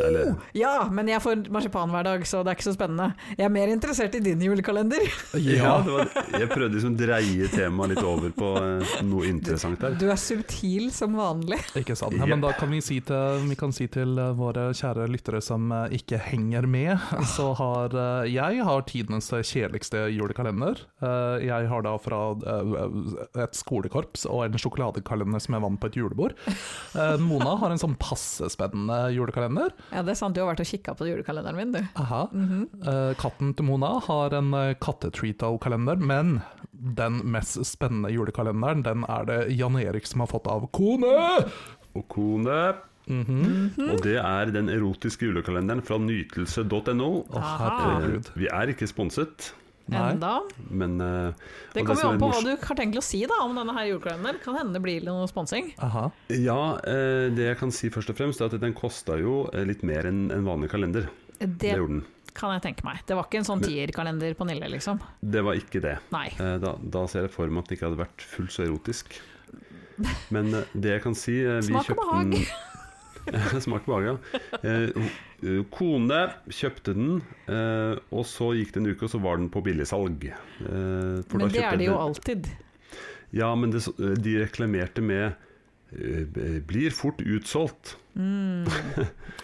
[SPEAKER 1] Eller
[SPEAKER 2] Ja, men jeg får marsipan hver dag, så det er ikke så spennende. Jeg er mer interessert i din julekalender.
[SPEAKER 1] ja, det var, jeg prøvde liksom å dreie temaet litt over på eh, noe interessant der.
[SPEAKER 2] Du er subtil som vanlig.
[SPEAKER 3] Ikke sant. Nei,
[SPEAKER 1] Yep.
[SPEAKER 3] men da kan vi si til, vi kan si til eh, våre kjære lyttere som eh, ikke henger med, så har eh, jeg har tidenes kjedeligste julekalender. Eh, Jeg har da fra eh, et skolekorps og en sjokoladekalender som jeg vant på et julebord. Eh, Mona har en sånn passespennende julekalender.
[SPEAKER 2] Ja, det er sant, du har vært og kikka på julekalenderen min, du.
[SPEAKER 3] Aha. Eh, Katten til Mona har en eh, kattetreatal-kalender, men den mest spennende julekalenderen, den er det Jan Erik som har fått av kone!
[SPEAKER 1] Og kone
[SPEAKER 3] Mhm.
[SPEAKER 1] Og det er den erotiske julekalenderen fra nytelse.no.
[SPEAKER 3] Å,
[SPEAKER 2] Aha.
[SPEAKER 1] Eh,
[SPEAKER 3] herregud.
[SPEAKER 1] Vi er ikke sponset,
[SPEAKER 3] Nei.
[SPEAKER 2] Enda.
[SPEAKER 1] men eh,
[SPEAKER 2] Det
[SPEAKER 1] og
[SPEAKER 2] kommer jo
[SPEAKER 1] som
[SPEAKER 2] an
[SPEAKER 1] er
[SPEAKER 2] på
[SPEAKER 1] mors-
[SPEAKER 2] hva du har tenkt å si da om denne her julekalenderen. Kan hende det blir noe sponsing.
[SPEAKER 3] Aha.
[SPEAKER 1] Ja, eh, det jeg kan si først og fremst, er at den kosta jo eh, litt mer enn en vanlig kalender. Det
[SPEAKER 2] Det
[SPEAKER 1] gjorde den.
[SPEAKER 2] kan jeg tenke meg. Det var ikke en sånn tierkalender på Nille, liksom.
[SPEAKER 1] Det var ikke det.
[SPEAKER 2] Nei.
[SPEAKER 1] Eh, Da, da ser jeg for meg at den ikke hadde vært fullt så erotisk. Men eh, det jeg kan si eh, vi
[SPEAKER 2] Smak og
[SPEAKER 1] kjøpte den- Smak og behag, ja. Eh, ho- eh, Kone kjøpte den, eh, og så gikk det en uke, og så var den på billigsalg. Eh, for da
[SPEAKER 2] Men det
[SPEAKER 1] kjøpte
[SPEAKER 2] er det
[SPEAKER 1] jeg
[SPEAKER 2] jo
[SPEAKER 1] den-
[SPEAKER 2] alltid.
[SPEAKER 1] Ja, men det, s- eh, de reklamerte med eh, b- 'blir fort utsolgt'.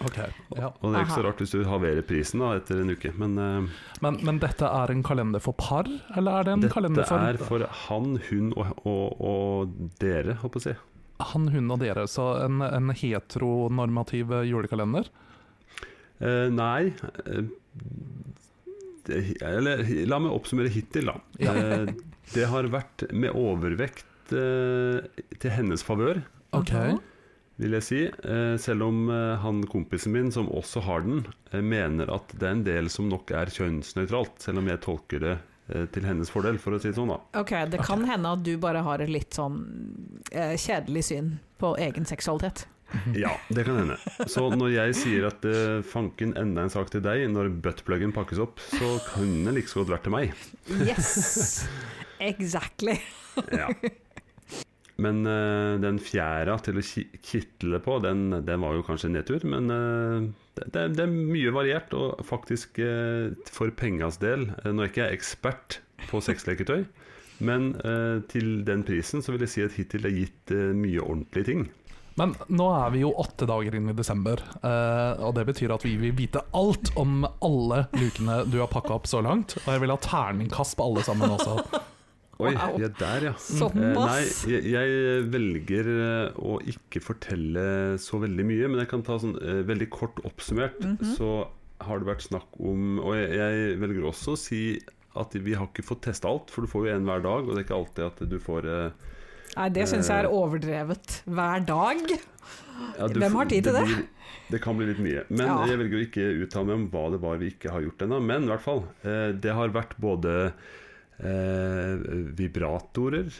[SPEAKER 3] Ok. Ja.
[SPEAKER 1] Og det er ikke
[SPEAKER 2] Aha.
[SPEAKER 1] så rart hvis du halverer prisen da etter en uke. Men eh,
[SPEAKER 3] Men, men dette er en kalender for par, eller er det en kalender
[SPEAKER 1] dette
[SPEAKER 3] for
[SPEAKER 1] er for han, hun og, og, og dere, holdt på å si.
[SPEAKER 3] han, hun og dere? Så en, en heteronormativ julekalender?
[SPEAKER 1] Eh, nei eh, det, Eller la meg oppsummere hittil, da.
[SPEAKER 3] Ja.
[SPEAKER 1] Eh, det har vært med overvekt eh, til hennes favør,
[SPEAKER 3] Ok.
[SPEAKER 2] Mhm.
[SPEAKER 1] vil jeg si. Eh, selv om eh, han kompisen min, som også har den, eh, mener at det er en del som nok er kjønnsnøytralt. Selv om jeg tolker det eh, til hennes fordel, for å si det sånn, da.
[SPEAKER 2] Ok, det kan hende at du bare har et litt sånn eh, kjedelig syn på egen seksualitet.
[SPEAKER 1] Ja, det kan hende. Så når jeg sier at eh, fanken enda en sak til deg når buttpluggen pakkes opp, så kunne det like så godt vært til meg.
[SPEAKER 2] Yes! Exactly.
[SPEAKER 1] Ja. Men eh, den fjæra til å ki- kitle på, den, den var jo kanskje en nedtur. Men eh, det, det, det er mye variert, og faktisk eh, for pengas del eh, Nå er ikke jeg ekspert på sexleketøy, men eh, til den prisen så vil jeg si at hittil det er gitt eh, mye ordentlige ting.
[SPEAKER 3] Men nå er vi jo åtte dager inn i desember, eh, og det betyr at vi vil vite alt om alle lukene du har pakka opp så langt. Og jeg vil ha terningkast på alle sammen også.
[SPEAKER 1] Oi,
[SPEAKER 2] Wow.
[SPEAKER 1] ja, der, ja. Eh, Nei,
[SPEAKER 2] Såpass.
[SPEAKER 1] jeg, jeg velger eh, å ikke fortelle så veldig mye, men jeg kan ta sånn eh, veldig kort oppsummert.
[SPEAKER 2] Mhm.
[SPEAKER 1] Så har det vært snakk om Og jeg, jeg velger også å si at vi har ikke fått testa alt, for du får jo en hver dag, og det er ikke alltid at du får eh,
[SPEAKER 2] Nei, det syns jeg er overdrevet. Hver dag.
[SPEAKER 1] ja, du
[SPEAKER 2] Hvem har
[SPEAKER 1] får-
[SPEAKER 2] tid til det?
[SPEAKER 1] Blir, det kan bli litt mye. Men
[SPEAKER 2] Ja.
[SPEAKER 1] jeg velger å ikke uttale meg om hva det var vi ikke har gjort ennå. Men i hvert fall, eh, det har vært både eh, vibratorer,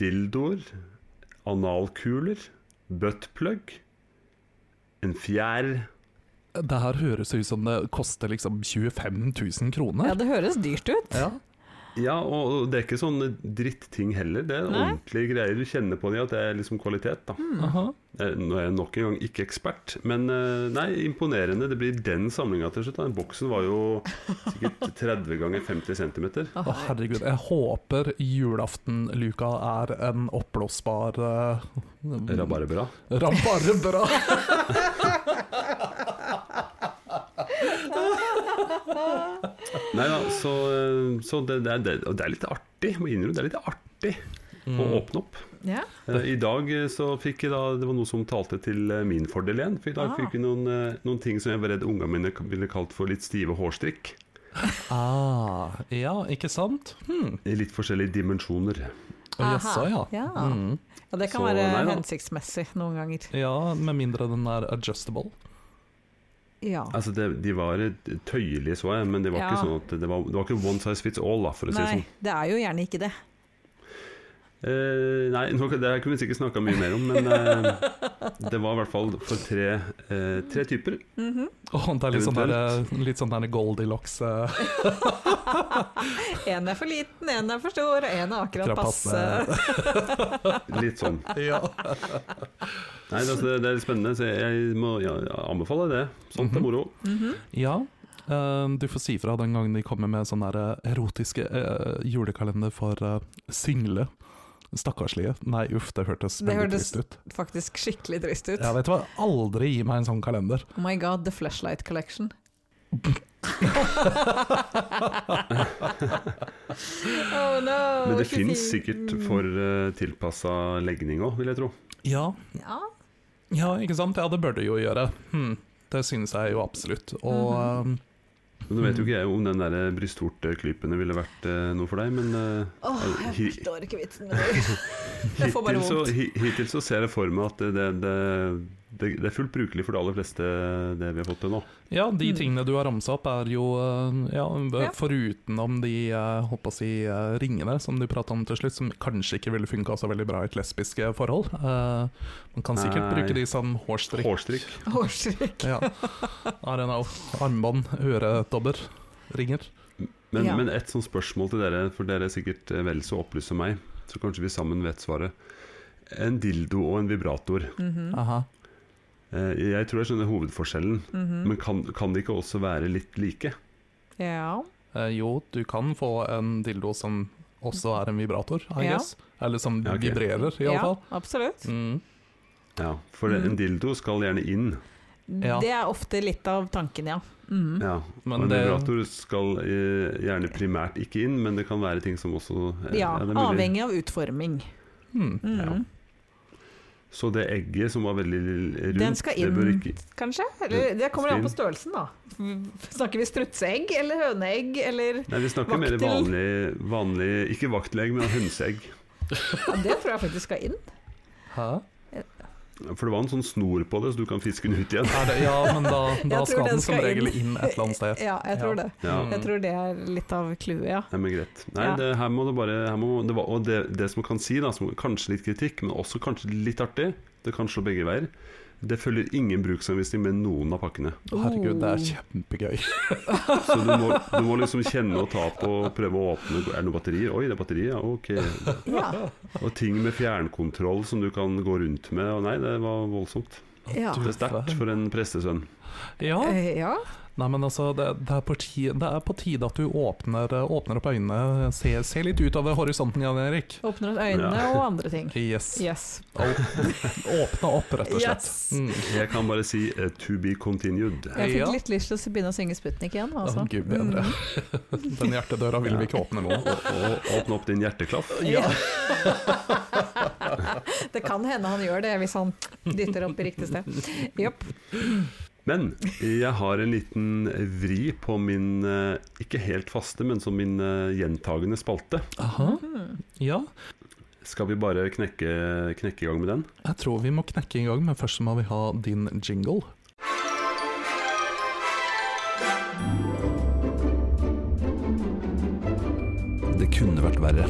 [SPEAKER 1] dildoer, analkuler, buttplug, en fjær
[SPEAKER 3] Det her høres ut som det koster liksom 25 000
[SPEAKER 2] Ja,
[SPEAKER 3] kroner.
[SPEAKER 2] det høres dyrt ut.
[SPEAKER 3] Ja.
[SPEAKER 1] Ja, og det er ikke sånne dritting heller. Det er
[SPEAKER 2] Nei. Mm.
[SPEAKER 1] ordentlige greier. Du kjenner på dem at det er liksom kvalitet, da.
[SPEAKER 3] Aha.
[SPEAKER 1] Eh, Nå er jeg nok en gang ikke ekspert, men eh, nei, imponerende. Det blir den samlinga til slutt. da. Boksen var jo sikkert 30 ganger 50 cm.
[SPEAKER 3] Å, herregud. Jeg håper julaften-luka er en oppblåsbar uh,
[SPEAKER 1] Rabarbra.
[SPEAKER 3] Rabarbra!
[SPEAKER 1] Nei da, så, eh, så det, det, er- det, og det er litt artig, må jeg innrømme. Det er litt artig å åpne opp.
[SPEAKER 2] Ja.
[SPEAKER 1] Eh, I dag eh, så fikk jeg da Det var noe som talte til eh, min fordel igjen. For i dag
[SPEAKER 2] Ah.
[SPEAKER 1] fikk vi noen, eh, noen ting som jeg var redd ungene mine ville kalt for litt stive hårstrikk.
[SPEAKER 3] Ah, ja, ikke sant? Hmm.
[SPEAKER 1] I litt forskjellige dimensjoner.
[SPEAKER 3] Å, Jaså, ja.
[SPEAKER 2] Ja.
[SPEAKER 3] Mm.
[SPEAKER 2] ja, det kan
[SPEAKER 1] Så,
[SPEAKER 2] være
[SPEAKER 1] nei da.
[SPEAKER 2] hensiktsmessig noen ganger.
[SPEAKER 3] ja, med mindre den er adjustable.
[SPEAKER 2] Ja.
[SPEAKER 1] Altså det, De var tøyelige, så jeg, men det var
[SPEAKER 2] Ja.
[SPEAKER 1] ikke sånn at det var, det var ikke one size fits all, da, for å si det
[SPEAKER 2] Nei,
[SPEAKER 1] sånn.
[SPEAKER 2] det er jo gjerne ikke det.
[SPEAKER 1] Eh, nei, nå, det her kunne vi sikkert snakka mye mer om, men eh, det var i hvert fall for tre, eh, tre typer.
[SPEAKER 3] Åh, det er litt sånn der, litt sånn der Goldilocks eh,
[SPEAKER 2] Én er for liten, én er for stor, og én er akkurat passe.
[SPEAKER 1] Litt sånn.
[SPEAKER 3] Ja.
[SPEAKER 1] Nei, altså, det, det er spennende, så jeg må ja, anbefale det. Sånt er moro.
[SPEAKER 2] Mhm.
[SPEAKER 3] ja. eh, du får si fra den gangen de kommer med sånne der, eh, erotiske eh, julekalender for eh, single. Stakkarslige. Nei, uff, det hørtes
[SPEAKER 2] Det
[SPEAKER 3] veldig
[SPEAKER 2] hørtes-
[SPEAKER 3] trist ut.
[SPEAKER 2] Faktisk skikkelig trist ut.
[SPEAKER 3] Ja, vet du hva? Aldri gi meg en sånn kalender.
[SPEAKER 2] Oh my god, The Flashlight Collection. oh no!
[SPEAKER 1] Men det
[SPEAKER 2] ikke
[SPEAKER 1] fins
[SPEAKER 2] si- mm.
[SPEAKER 1] sikkert for uh, tilpassa legning òg, vil jeg tro.
[SPEAKER 3] Ja,
[SPEAKER 2] Ja,
[SPEAKER 3] ja, ikke sant? Ja, det bør det jo gjøre. Hm. Det synes jeg jo absolutt. Og
[SPEAKER 2] Mhm.
[SPEAKER 3] eh,
[SPEAKER 1] Men Nå vet jo
[SPEAKER 2] Mm.
[SPEAKER 1] ikke jeg om den der brystvorteklypene ville vært eh, noe for deg, men eh,
[SPEAKER 2] Åh,
[SPEAKER 1] hi-
[SPEAKER 2] jeg forstår ikke vitsen med det. Jeg får bare
[SPEAKER 1] hittil så,
[SPEAKER 2] vondt.
[SPEAKER 1] hi, hittil så ser jeg for meg at det, det, det det, det er fullt brukelig for de aller fleste, det vi har fått til nå.
[SPEAKER 3] Ja, de
[SPEAKER 2] Mm.
[SPEAKER 3] tingene du har ramsa opp, er jo eh, ja,
[SPEAKER 2] Ja.
[SPEAKER 3] foruten om de eh, håper å si, eh, ringene som du prata om til slutt, som kanskje ikke ville funka så veldig bra i et lesbisk eh, forhold. Eh, Man kan sikkert
[SPEAKER 1] Nei.
[SPEAKER 3] bruke de som hårstrikk.
[SPEAKER 1] Hårstrikk.
[SPEAKER 2] Hårstrikk.
[SPEAKER 3] Ja. RNA, armbånd, øredobber, ringer.
[SPEAKER 1] Men,
[SPEAKER 2] Ja.
[SPEAKER 1] men et sånt spørsmål til dere, for dere er sikkert eh, vel så opplyst som meg, så kanskje vi sammen vet svaret. En dildo og en vibrator.
[SPEAKER 2] Mhm,
[SPEAKER 3] Aha.
[SPEAKER 1] Eh, Jeg tror jeg skjønner hovedforskjellen,
[SPEAKER 2] mhm.
[SPEAKER 1] men kan, kan de ikke også være litt like?
[SPEAKER 2] Ja.
[SPEAKER 3] Eh, Jo, du kan få en dildo som også er en vibrator, I
[SPEAKER 2] Ja.
[SPEAKER 3] guess. Eller som
[SPEAKER 1] Ja, ok.
[SPEAKER 3] vibrerer, i alle
[SPEAKER 2] ja,
[SPEAKER 3] fall.
[SPEAKER 2] absolutt.
[SPEAKER 3] Mm.
[SPEAKER 1] Ja, for en
[SPEAKER 2] Mhm.
[SPEAKER 1] dildo skal gjerne inn,
[SPEAKER 3] Ja.
[SPEAKER 2] Det er ofte litt av tanken, ja. Mhm.
[SPEAKER 1] ja. og
[SPEAKER 3] Men
[SPEAKER 1] en
[SPEAKER 3] det-
[SPEAKER 1] vibrator skal eh, gjerne primært ikke inn, men det kan være ting som også eh,
[SPEAKER 2] Ja,
[SPEAKER 1] det er mulig.
[SPEAKER 2] avhengig av utforming.
[SPEAKER 3] Mm.
[SPEAKER 2] Mhm.
[SPEAKER 1] Så det egget som var veldig rundt,
[SPEAKER 2] Den skal
[SPEAKER 1] det bør
[SPEAKER 2] inn.
[SPEAKER 1] ikke
[SPEAKER 2] Kanskje? Eller, det kommer
[SPEAKER 1] Skal
[SPEAKER 2] an på
[SPEAKER 1] inn.
[SPEAKER 2] størrelsen, da. Snakker vi strutseegg eller høneegg eller
[SPEAKER 1] Nei, vi snakker mer
[SPEAKER 2] Vaktel.
[SPEAKER 1] vanlig, vanlig Ikke vaktelegg, men hønseegg.
[SPEAKER 2] ja, Det tror jeg faktisk skal inn.
[SPEAKER 3] Hæ?
[SPEAKER 1] For det var en sånn snor på det, så du kan fiske den ut igjen.
[SPEAKER 3] Er det, ja, men da, da
[SPEAKER 2] tror
[SPEAKER 3] skal
[SPEAKER 2] den
[SPEAKER 3] den som
[SPEAKER 2] skal
[SPEAKER 3] regel
[SPEAKER 2] inn.
[SPEAKER 3] inn et eller annet sted.
[SPEAKER 2] Ja, jeg tror det.
[SPEAKER 1] Ja.
[SPEAKER 3] Mm.
[SPEAKER 2] Jeg tror det er litt av clouet, ja.
[SPEAKER 1] Nei, men greit. Nei,
[SPEAKER 2] Ja.
[SPEAKER 1] det, her må det bare her må, det var, Og det, det som man kan si, da, som kanskje litt kritikk, men også kanskje litt artig, det kan slå begge veier, det følger ingen bruksanvisning med noen av pakkene.
[SPEAKER 3] Herregud, det er kjempegøy.
[SPEAKER 1] Så du må, du må liksom kjenne og ta på, prøve å åpne Er det noen batterier? Oi, det er batterier, ja, ok.
[SPEAKER 2] Ja,
[SPEAKER 1] Og ting med fjernkontroll som du kan gå rundt med. Og nei, det var voldsomt.
[SPEAKER 2] ja.
[SPEAKER 1] Det er sterkt for en prestesønn.
[SPEAKER 3] Ja,
[SPEAKER 2] Eh, ja.
[SPEAKER 3] nei, men altså, det, det, er på tide, det er på tide at du åpner, eh, åpner opp øynene, ser, ser litt utover horisonten, Jan Erik.
[SPEAKER 2] Åpner opp øynene og andre ting.
[SPEAKER 3] Yes.
[SPEAKER 2] Yes.
[SPEAKER 3] Åpne opp, rett og slett.
[SPEAKER 2] Yes.
[SPEAKER 3] Mm.
[SPEAKER 1] Jeg kan bare si eh, 'to be continued'.
[SPEAKER 2] Jeg fikk
[SPEAKER 3] Ja.
[SPEAKER 2] litt lyst til å begynne å synge Sputnik igjen. Altså.
[SPEAKER 3] Å, Gud bedre.
[SPEAKER 2] Mm.
[SPEAKER 3] Den hjertedøra vil vi ikke åpne nå.
[SPEAKER 1] Og, og åpne opp din hjerteklaff.
[SPEAKER 2] Ja. det kan hende han gjør det, hvis han dytter opp i riktig sted. Jopp.
[SPEAKER 1] Men jeg har en liten vri på min eh, ikke helt faste, men som min eh, gjentagende spalte.
[SPEAKER 3] Aha.
[SPEAKER 2] Mm-hmm.
[SPEAKER 3] Ja,
[SPEAKER 1] Skal vi bare knekke, knekke i gang med den?
[SPEAKER 3] jeg tror vi må knekke i gang, men først så må vi ha din jingle. Det kunne vært verre.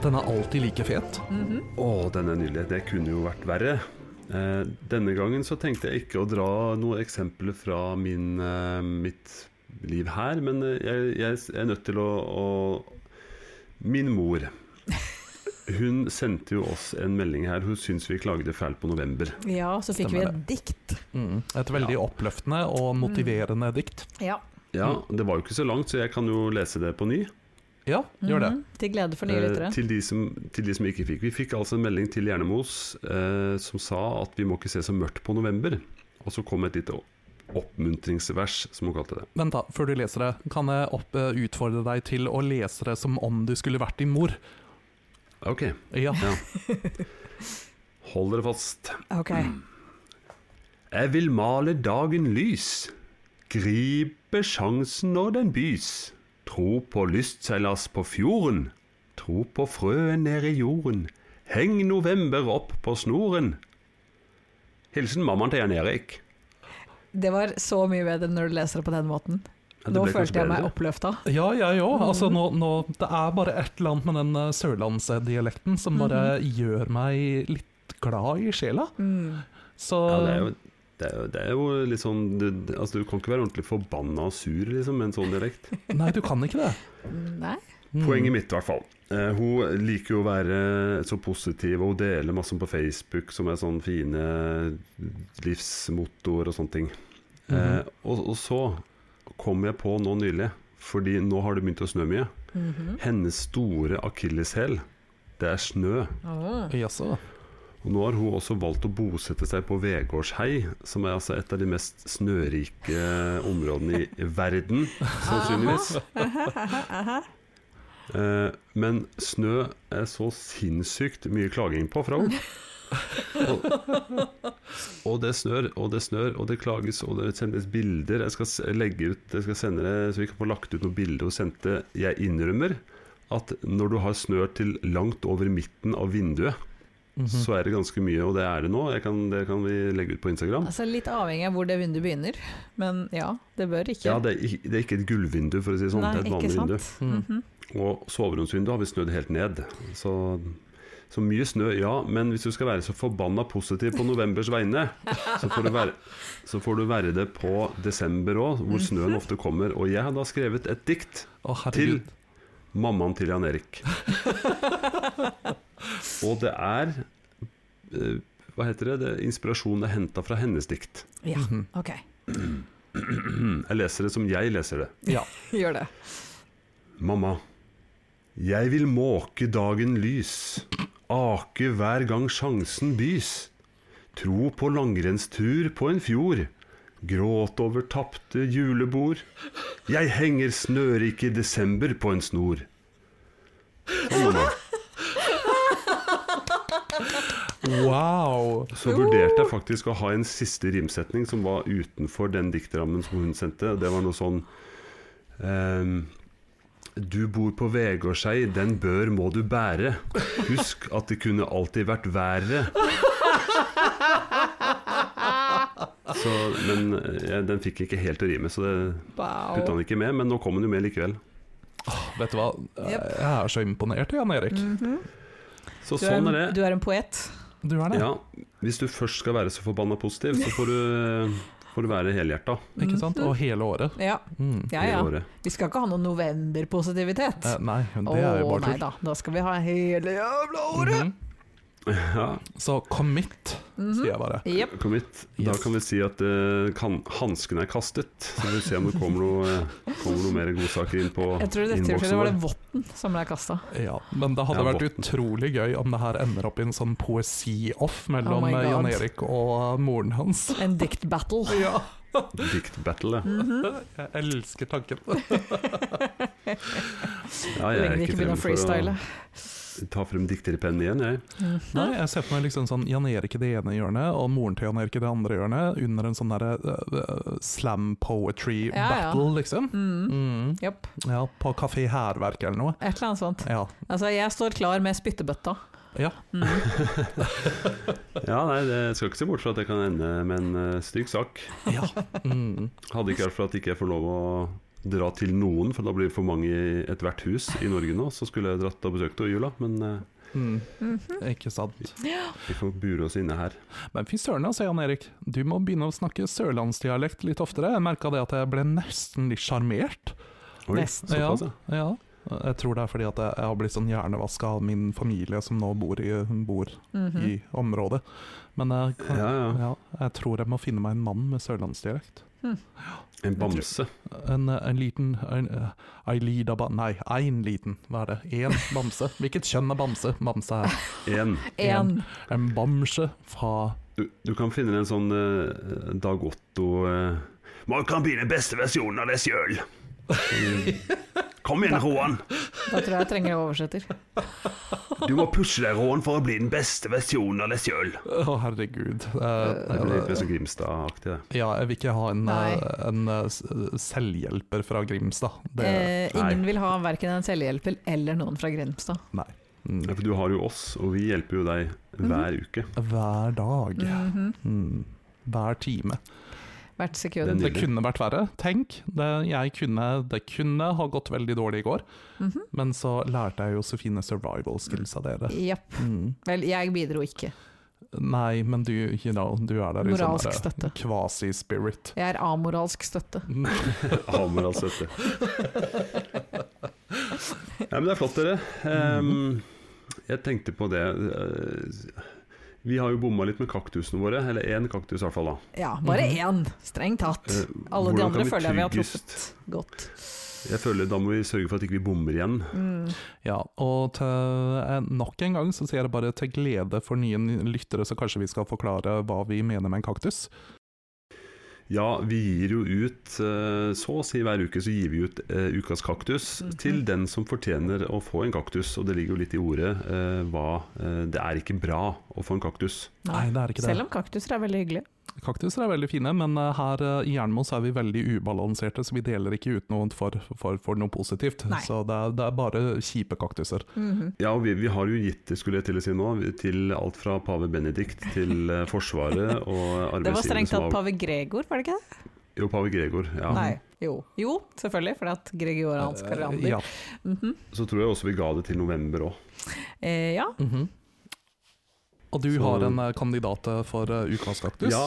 [SPEAKER 3] Den er alltid like fet.
[SPEAKER 2] Mm.
[SPEAKER 1] Å, denne nydelige. Det kunne jo vært verre. Eh, denne gangen så tenkte jeg ikke å dra noen eksempler fra min, eh, mitt liv her, men eh, jeg, jeg er nødt til å, å Min mor. Hun sendte jo oss en melding her. Hun syntes vi klagde fælt på november.
[SPEAKER 2] Ja, så fikk vi
[SPEAKER 3] Stemmer
[SPEAKER 2] et dikt.
[SPEAKER 3] Mm. Et veldig oppløftende og
[SPEAKER 2] Mm.
[SPEAKER 3] motiverende dikt.
[SPEAKER 2] Ja.
[SPEAKER 1] Ja, Det var jo ikke så langt, så jeg kan jo lese det på ny.
[SPEAKER 3] Ja, gjør det.
[SPEAKER 2] Mhm. Til glede for nye
[SPEAKER 1] Eh,
[SPEAKER 2] lyttere.
[SPEAKER 1] Til, de som, til de som ikke fikk. Vi fikk altså en melding til Hjernemos eh, som sa at vi må ikke se så mørkt på november. Og så kom et lite oppmuntringsvers, som hun kalte det.
[SPEAKER 3] Vent da, før du leser det, kan jeg opp, eh, utfordre deg til å lese det som om du skulle vært din mor?
[SPEAKER 1] Ok,
[SPEAKER 3] Ja.
[SPEAKER 1] hold dere fast.
[SPEAKER 2] Ok.
[SPEAKER 3] Mm.
[SPEAKER 1] Jeg vil male dagen lys. Gripe sjansen når den bys. Tro på lystseilas på fjorden. Tro på frøen nede i jorden. Heng november opp på snoren. Hilsen mammaen til Jan Erik.
[SPEAKER 2] Det var så mye bedre når du leser det på den måten.
[SPEAKER 1] Ja, det
[SPEAKER 2] Nå
[SPEAKER 1] ble kanskje
[SPEAKER 2] følte jeg meg
[SPEAKER 1] bedre.
[SPEAKER 2] oppløfta.
[SPEAKER 3] Ja, jeg òg. Altså, nå, nå, det er bare et eller annet med den eh, sørlandsdialekten som bare gjør meg litt glad i sjela.
[SPEAKER 2] Mhm. Mm.
[SPEAKER 3] Så
[SPEAKER 1] Ja, det er jo det er, jo, det er jo litt sånn du, altså, du kan ikke være ordentlig forbanna og sur liksom, med en sånn dialekt.
[SPEAKER 3] Nei, du kan ikke det.
[SPEAKER 2] Nei.
[SPEAKER 3] Mm.
[SPEAKER 1] Poenget mitt, i hvert fall. Eh, hun liker jo å være så positiv, og hun deler masse på Facebook som er sånn fine livsmottoer og sånne ting. eh, og, og så kom jeg på nå nylig, fordi nå har det begynt å snø mye. Hennes store akilleshæl, det er snø.
[SPEAKER 2] Åh.
[SPEAKER 3] Mm. Jaså.
[SPEAKER 1] Og nå har hun også valgt å bosette seg på Vegårshei, som er altså et av de mest snørike områdene i verden, sannsynligvis. Eh, Men snø er så sinnssykt mye klaging på fra henne. Og, og det snør, og det snør, og det klages, og det sendes bilder. Jeg skal s- legge ut, jeg skal sende det, så vi kan få lagt ut noen bilder hun sendte. Jeg innrømmer at når du har snø til langt over midten av vinduet,
[SPEAKER 2] Mhm.
[SPEAKER 1] så er det ganske mye, og det er det nå. Jeg kan, det kan vi legge ut på Instagram.
[SPEAKER 2] Altså Litt avhengig av hvor det vinduet begynner, men ja, det bør ikke.
[SPEAKER 1] Ja, det er, ikke- det er ikke et gullvindu, for å si det sånn.
[SPEAKER 2] Nei,
[SPEAKER 1] det er et
[SPEAKER 2] ikke
[SPEAKER 1] vanlig vindu.
[SPEAKER 2] sant?
[SPEAKER 3] Mm.
[SPEAKER 2] Mhm.
[SPEAKER 1] Og soveromsvinduet har vi snødd helt ned. Så, så mye snø, ja. Men hvis du skal være så forbanna positiv på novembers vegne, så får du være, så får du være det på desember òg, hvor snøen ofte kommer. Og jeg har da skrevet et dikt
[SPEAKER 3] Å,
[SPEAKER 1] til
[SPEAKER 3] herregud.
[SPEAKER 1] mammaen til Jan Erik. Og det er eh, Hva heter det? det inspirasjonen er henta fra hennes dikt.
[SPEAKER 2] Ja,
[SPEAKER 3] Mhm.
[SPEAKER 2] ok.
[SPEAKER 1] Jeg leser det som jeg leser det.
[SPEAKER 3] Ja.
[SPEAKER 2] Gjør det.
[SPEAKER 1] Mamma, jeg vil måke dagen lys, ake hver gang sjansen bys. Tro på langrennstur på en fjord, gråt over tapte julebord. Jeg henger snørike desember på en snor. Sånn, mamma.
[SPEAKER 3] Wow.
[SPEAKER 1] Så vurderte jeg faktisk å ha en siste rimsetning som var utenfor den diktrammen som hun sendte. Det var noe sånn ehm, Du bor på Vegårshei, den bør må du bære. Husk at det kunne alltid vært verre. Så, men eh, den fikk ikke helt til å rime, så det putta
[SPEAKER 2] Wow.
[SPEAKER 1] han ikke med. Men nå kom den jo med likevel.
[SPEAKER 3] Vet du hva, Eh,
[SPEAKER 2] Jep. Mm.
[SPEAKER 3] jeg er så imponert, Jan Erik.
[SPEAKER 1] Så
[SPEAKER 2] Du er,
[SPEAKER 1] sånn er
[SPEAKER 2] en,
[SPEAKER 1] det.
[SPEAKER 2] du er en poet.
[SPEAKER 3] Du er det,
[SPEAKER 1] Ja, hvis du først skal være så forbanna positiv, så får du, eh, får du være helhjerta
[SPEAKER 3] ikke sant?
[SPEAKER 2] Mm-hmm.
[SPEAKER 3] Og hele året.
[SPEAKER 2] Ja,
[SPEAKER 3] Mm.
[SPEAKER 2] ja.
[SPEAKER 1] hele
[SPEAKER 2] ja.
[SPEAKER 1] året.
[SPEAKER 2] Vi skal ikke ha noe novemberpositivitet.
[SPEAKER 3] Eh, nei,
[SPEAKER 2] Å
[SPEAKER 3] det er jo bare
[SPEAKER 2] nei
[SPEAKER 3] tull.
[SPEAKER 2] da, da skal vi ha hele jævla året!
[SPEAKER 3] Mhm.
[SPEAKER 1] Ja,
[SPEAKER 3] Så commit,
[SPEAKER 2] Mhm.
[SPEAKER 3] sier jeg bare.
[SPEAKER 2] Jep.
[SPEAKER 1] Kom hit. Da
[SPEAKER 3] Yes.
[SPEAKER 1] kan vi si at uh, kan, hansken er kastet. Så får vi se om det kommer noe, eh, kommer noe mer godsaker inn på
[SPEAKER 2] Jeg tror i dette tilfellet
[SPEAKER 1] innboksen vår.
[SPEAKER 2] var det votten som ble kasta.
[SPEAKER 3] Ja, men det hadde
[SPEAKER 1] Ja,
[SPEAKER 3] vært utrolig gøy om det her ender opp i en sånn poesi-off mellom
[SPEAKER 2] Oh my
[SPEAKER 3] eh,
[SPEAKER 2] God.
[SPEAKER 3] Jan Erik og eh, moren hans.
[SPEAKER 2] En dict battle.
[SPEAKER 3] Ja,
[SPEAKER 1] Diktbattle.
[SPEAKER 2] Mm.
[SPEAKER 1] ja.
[SPEAKER 3] jeg elsker tanken.
[SPEAKER 1] Ja,
[SPEAKER 2] Så
[SPEAKER 1] jeg er
[SPEAKER 2] lenge vi
[SPEAKER 1] ikke
[SPEAKER 2] ikke
[SPEAKER 1] fremme
[SPEAKER 2] begynner å
[SPEAKER 1] for
[SPEAKER 2] freestyle.
[SPEAKER 1] å ta frem dikterpennen igjen, jeg.
[SPEAKER 3] Nei, jeg ser for meg liksom sånn Jan Erik i det ene hjørnet og moren til Jan Erik i det andre hjørnet under en sånn derre eh, eh, slam poetry
[SPEAKER 2] Ja, ja.
[SPEAKER 3] battle, liksom.
[SPEAKER 2] Mm.
[SPEAKER 3] Mm.
[SPEAKER 2] Japp.
[SPEAKER 3] Ja, på Kafé Hærverk eller noe.
[SPEAKER 2] Et eller annet sånt.
[SPEAKER 3] Ja.
[SPEAKER 2] Altså, jeg står klar med spyttebøtta.
[SPEAKER 3] ja.
[SPEAKER 2] Mm.
[SPEAKER 1] Ja, nei, det jeg skal ikke se bort fra at det kan ende med en eh, stygg sak.
[SPEAKER 3] ja. Mm.
[SPEAKER 1] Hadde ikke vært for at ikke jeg får lov å dra til noen, for da blir det for mange i ethvert hus i Norge nå. Så skulle jeg dratt og besøkt henne i jula, men eh,
[SPEAKER 3] Mm.
[SPEAKER 2] Mhm.
[SPEAKER 3] Ikke sant.
[SPEAKER 1] vi får bure oss inne her.
[SPEAKER 3] Men fy søren altså, Jan Erik. Du må begynne å snakke sørlandsdialekt litt oftere. Jeg merka det at jeg ble nesten litt sjarmert.
[SPEAKER 1] Oi,
[SPEAKER 2] Nesten.
[SPEAKER 1] såpass, ja.
[SPEAKER 3] Ja. Jeg tror det er fordi at jeg jeg har blitt sånn hjernevaska av min familie som nå bor i, bor
[SPEAKER 2] Mhm.
[SPEAKER 3] i området. Men jeg, kan,
[SPEAKER 1] Ja,
[SPEAKER 3] ja,
[SPEAKER 1] ja.
[SPEAKER 3] jeg tror jeg må finne meg en mann med sørlandsdialekt.
[SPEAKER 1] En bamse.
[SPEAKER 3] En, en liten en, eh, Ei lita ba... Nei, ein liten, hva er det? Én bamse? Hvilket kjønn er bamse? Bamse er
[SPEAKER 1] En.
[SPEAKER 2] En.
[SPEAKER 3] en bamse fra
[SPEAKER 1] Du, du kan finne en sånn eh, Dag Otto eh, Man kan bli den beste versjonen av deg sjøl. Kom igjen, Roan.
[SPEAKER 2] Da tror jeg jeg trenger en oversetter.
[SPEAKER 1] Du må pushe deg, Roan, for å bli den beste versjonen av deg sjøl.
[SPEAKER 3] Å, herregud. Eh,
[SPEAKER 1] Det blir litt
[SPEAKER 3] eh,
[SPEAKER 1] mer sånn Grimstad-aktig, det.
[SPEAKER 3] ja, jeg vil ikke ha en,
[SPEAKER 2] Nei.
[SPEAKER 3] eh, en eh, s- selvhjelper fra Grimstad. Det
[SPEAKER 2] Eh,
[SPEAKER 1] Nei.
[SPEAKER 2] ingen vil ha verken en selvhjelper eller noen fra Grimstad.
[SPEAKER 3] Nei. Mm.
[SPEAKER 1] Ja, For du har jo oss, og vi hjelper jo deg hver uke.
[SPEAKER 3] Hver dag.
[SPEAKER 2] Mhm.
[SPEAKER 3] Mm. Hver time.
[SPEAKER 1] Den-
[SPEAKER 2] Hvert sekund.
[SPEAKER 3] Det
[SPEAKER 1] Nydelig.
[SPEAKER 3] kunne vært verre. Tenk, det, jeg kunne, det kunne ha gått veldig dårlig i går,
[SPEAKER 2] Mhm.
[SPEAKER 3] men så lærte jeg jo så fine survival skills av dere.
[SPEAKER 2] Japp.
[SPEAKER 3] Mm.
[SPEAKER 2] Vel, jeg bidro ikke.
[SPEAKER 3] Nei, men du, you know, du er der i
[SPEAKER 2] Moralsk
[SPEAKER 3] sånn
[SPEAKER 2] støtte.
[SPEAKER 3] kvasi-spirit.
[SPEAKER 2] Jeg er amoralsk støtte.
[SPEAKER 3] Mm.
[SPEAKER 1] Hammer altså dette. Ja, men det er flott, dere. Ehm, jeg tenkte på det eh, Vi har jo bomma litt med kaktusene våre. Eller én kaktus, i hvert fall. da
[SPEAKER 2] Ja, bare én, strengt tatt.
[SPEAKER 1] Eh,
[SPEAKER 2] Alle de
[SPEAKER 1] hvordan
[SPEAKER 2] andre
[SPEAKER 1] kan vi
[SPEAKER 2] føler jeg vi har
[SPEAKER 1] tryggest-
[SPEAKER 2] truffet godt.
[SPEAKER 1] Jeg føler Da må vi sørge for at ikke vi bommer igjen.
[SPEAKER 2] Mm.
[SPEAKER 3] Ja, og til, eh, nok en gang så sier jeg bare til glede for nye lyttere, så kanskje vi skal forklare hva vi mener med en kaktus.
[SPEAKER 1] Ja, vi gir jo ut eh, Så å si hver uke så gir vi ut eh, ukas kaktus
[SPEAKER 2] Mhm.
[SPEAKER 1] til den som fortjener å få en kaktus. Og det ligger jo litt i ordet eh, hva eh, Det er ikke bra å få en kaktus.
[SPEAKER 3] Nei, det er ikke det.
[SPEAKER 2] Selv om kaktuser er veldig hyggelige.
[SPEAKER 3] Kaktuser er veldig fine, men eh, her eh, i Jernmo så er vi veldig ubalanserte, så vi deler ikke ut noe for, for, for noe positivt.
[SPEAKER 2] Nei.
[SPEAKER 3] Så det er, det er bare kjipe kaktuser.
[SPEAKER 2] Mhm.
[SPEAKER 1] Ja, og vi, vi har jo gitt, skulle jeg til å si nå, til alt fra pave Benedikt til eh, Forsvaret og arbeidsgivere
[SPEAKER 2] Det var strengt
[SPEAKER 1] som
[SPEAKER 2] tatt pave Gregor, var det ikke det?
[SPEAKER 1] Jo, pave Gregor. Ja.
[SPEAKER 2] Nei. Jo, jo selvfølgelig, for det er gregoriansk kalender.
[SPEAKER 3] Eh, ja.
[SPEAKER 2] Mhm.
[SPEAKER 1] Så tror jeg også vi ga det til november òg.
[SPEAKER 2] eh, ja.
[SPEAKER 3] Mhm. Og du
[SPEAKER 1] Så-
[SPEAKER 3] har en eh, kandidat eh, for eh, ukas kaktus?
[SPEAKER 1] Ja,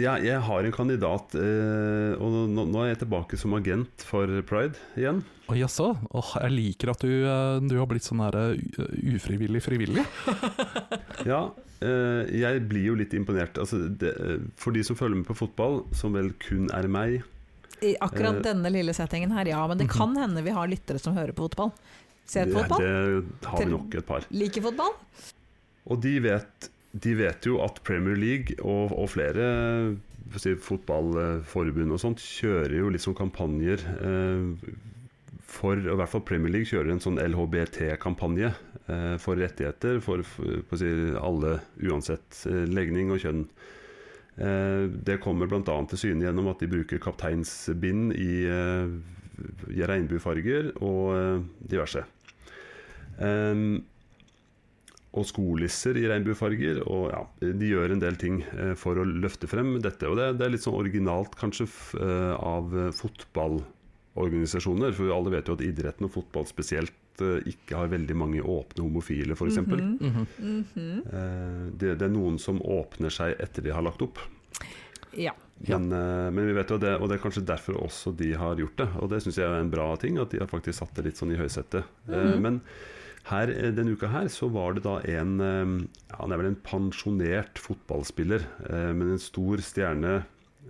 [SPEAKER 1] jeg, jeg har en kandidat, eh, og nå, nå er jeg tilbake som agent for Pride igjen.
[SPEAKER 3] Å, Jaså? Åh, jeg liker at du, eh, du har blitt sånn her eh, u- ufrivillig frivillig.
[SPEAKER 1] Ja, eh, jeg blir jo litt imponert. Altså, det, eh, for de som følger med på fotball, som vel kun er meg
[SPEAKER 2] I akkurat
[SPEAKER 1] Eh, Mhm.
[SPEAKER 2] denne lille settingen her, ja. Men det kan hende vi har lyttere som hører på fotball. Ser
[SPEAKER 1] det,
[SPEAKER 2] på fotball,
[SPEAKER 1] det har
[SPEAKER 2] Til-
[SPEAKER 1] vi nok et par.
[SPEAKER 2] liker fotball.
[SPEAKER 1] Og de vet, de vet jo at Premier League og, og flere eh, si, fotballforbund og sånt kjører jo litt sånn kampanjer eh, for og I hvert fall Premier League kjører en sånn LHBT-kampanje eh, for rettigheter for, for på å si, alle, uansett eh, legning og kjønn. Eh, det kommer bl.a. til syne gjennom at de bruker kapteinsbind i, eh, i regnbuefarger og eh, diverse. Ehm, og skolisser i regnbuefarger. Og ja, de gjør en del ting eh, for å løfte frem dette. Og det, det er litt sånn originalt kanskje f- eh, av eh, fotballorganisasjoner. For alle vet jo at idretten og fotball spesielt eh, ikke har veldig mange åpne homofile, f.eks. eksempel
[SPEAKER 2] Mhm.
[SPEAKER 3] Mhm.
[SPEAKER 2] Mhm.
[SPEAKER 1] Eh, det, det er noen som åpner seg etter de har lagt opp.
[SPEAKER 2] Ja.
[SPEAKER 3] Ja.
[SPEAKER 1] Men, eh, men vi vet jo det, og det er kanskje derfor også de har gjort det. Og det syns jeg er en bra ting, at de har faktisk satt det litt sånn i høysetet. Eh,
[SPEAKER 2] Mhm.
[SPEAKER 1] Men her, eh, denne uka her så var det da en eh, ja, Han er vel en pensjonert fotballspiller, eh, men en stor stjerne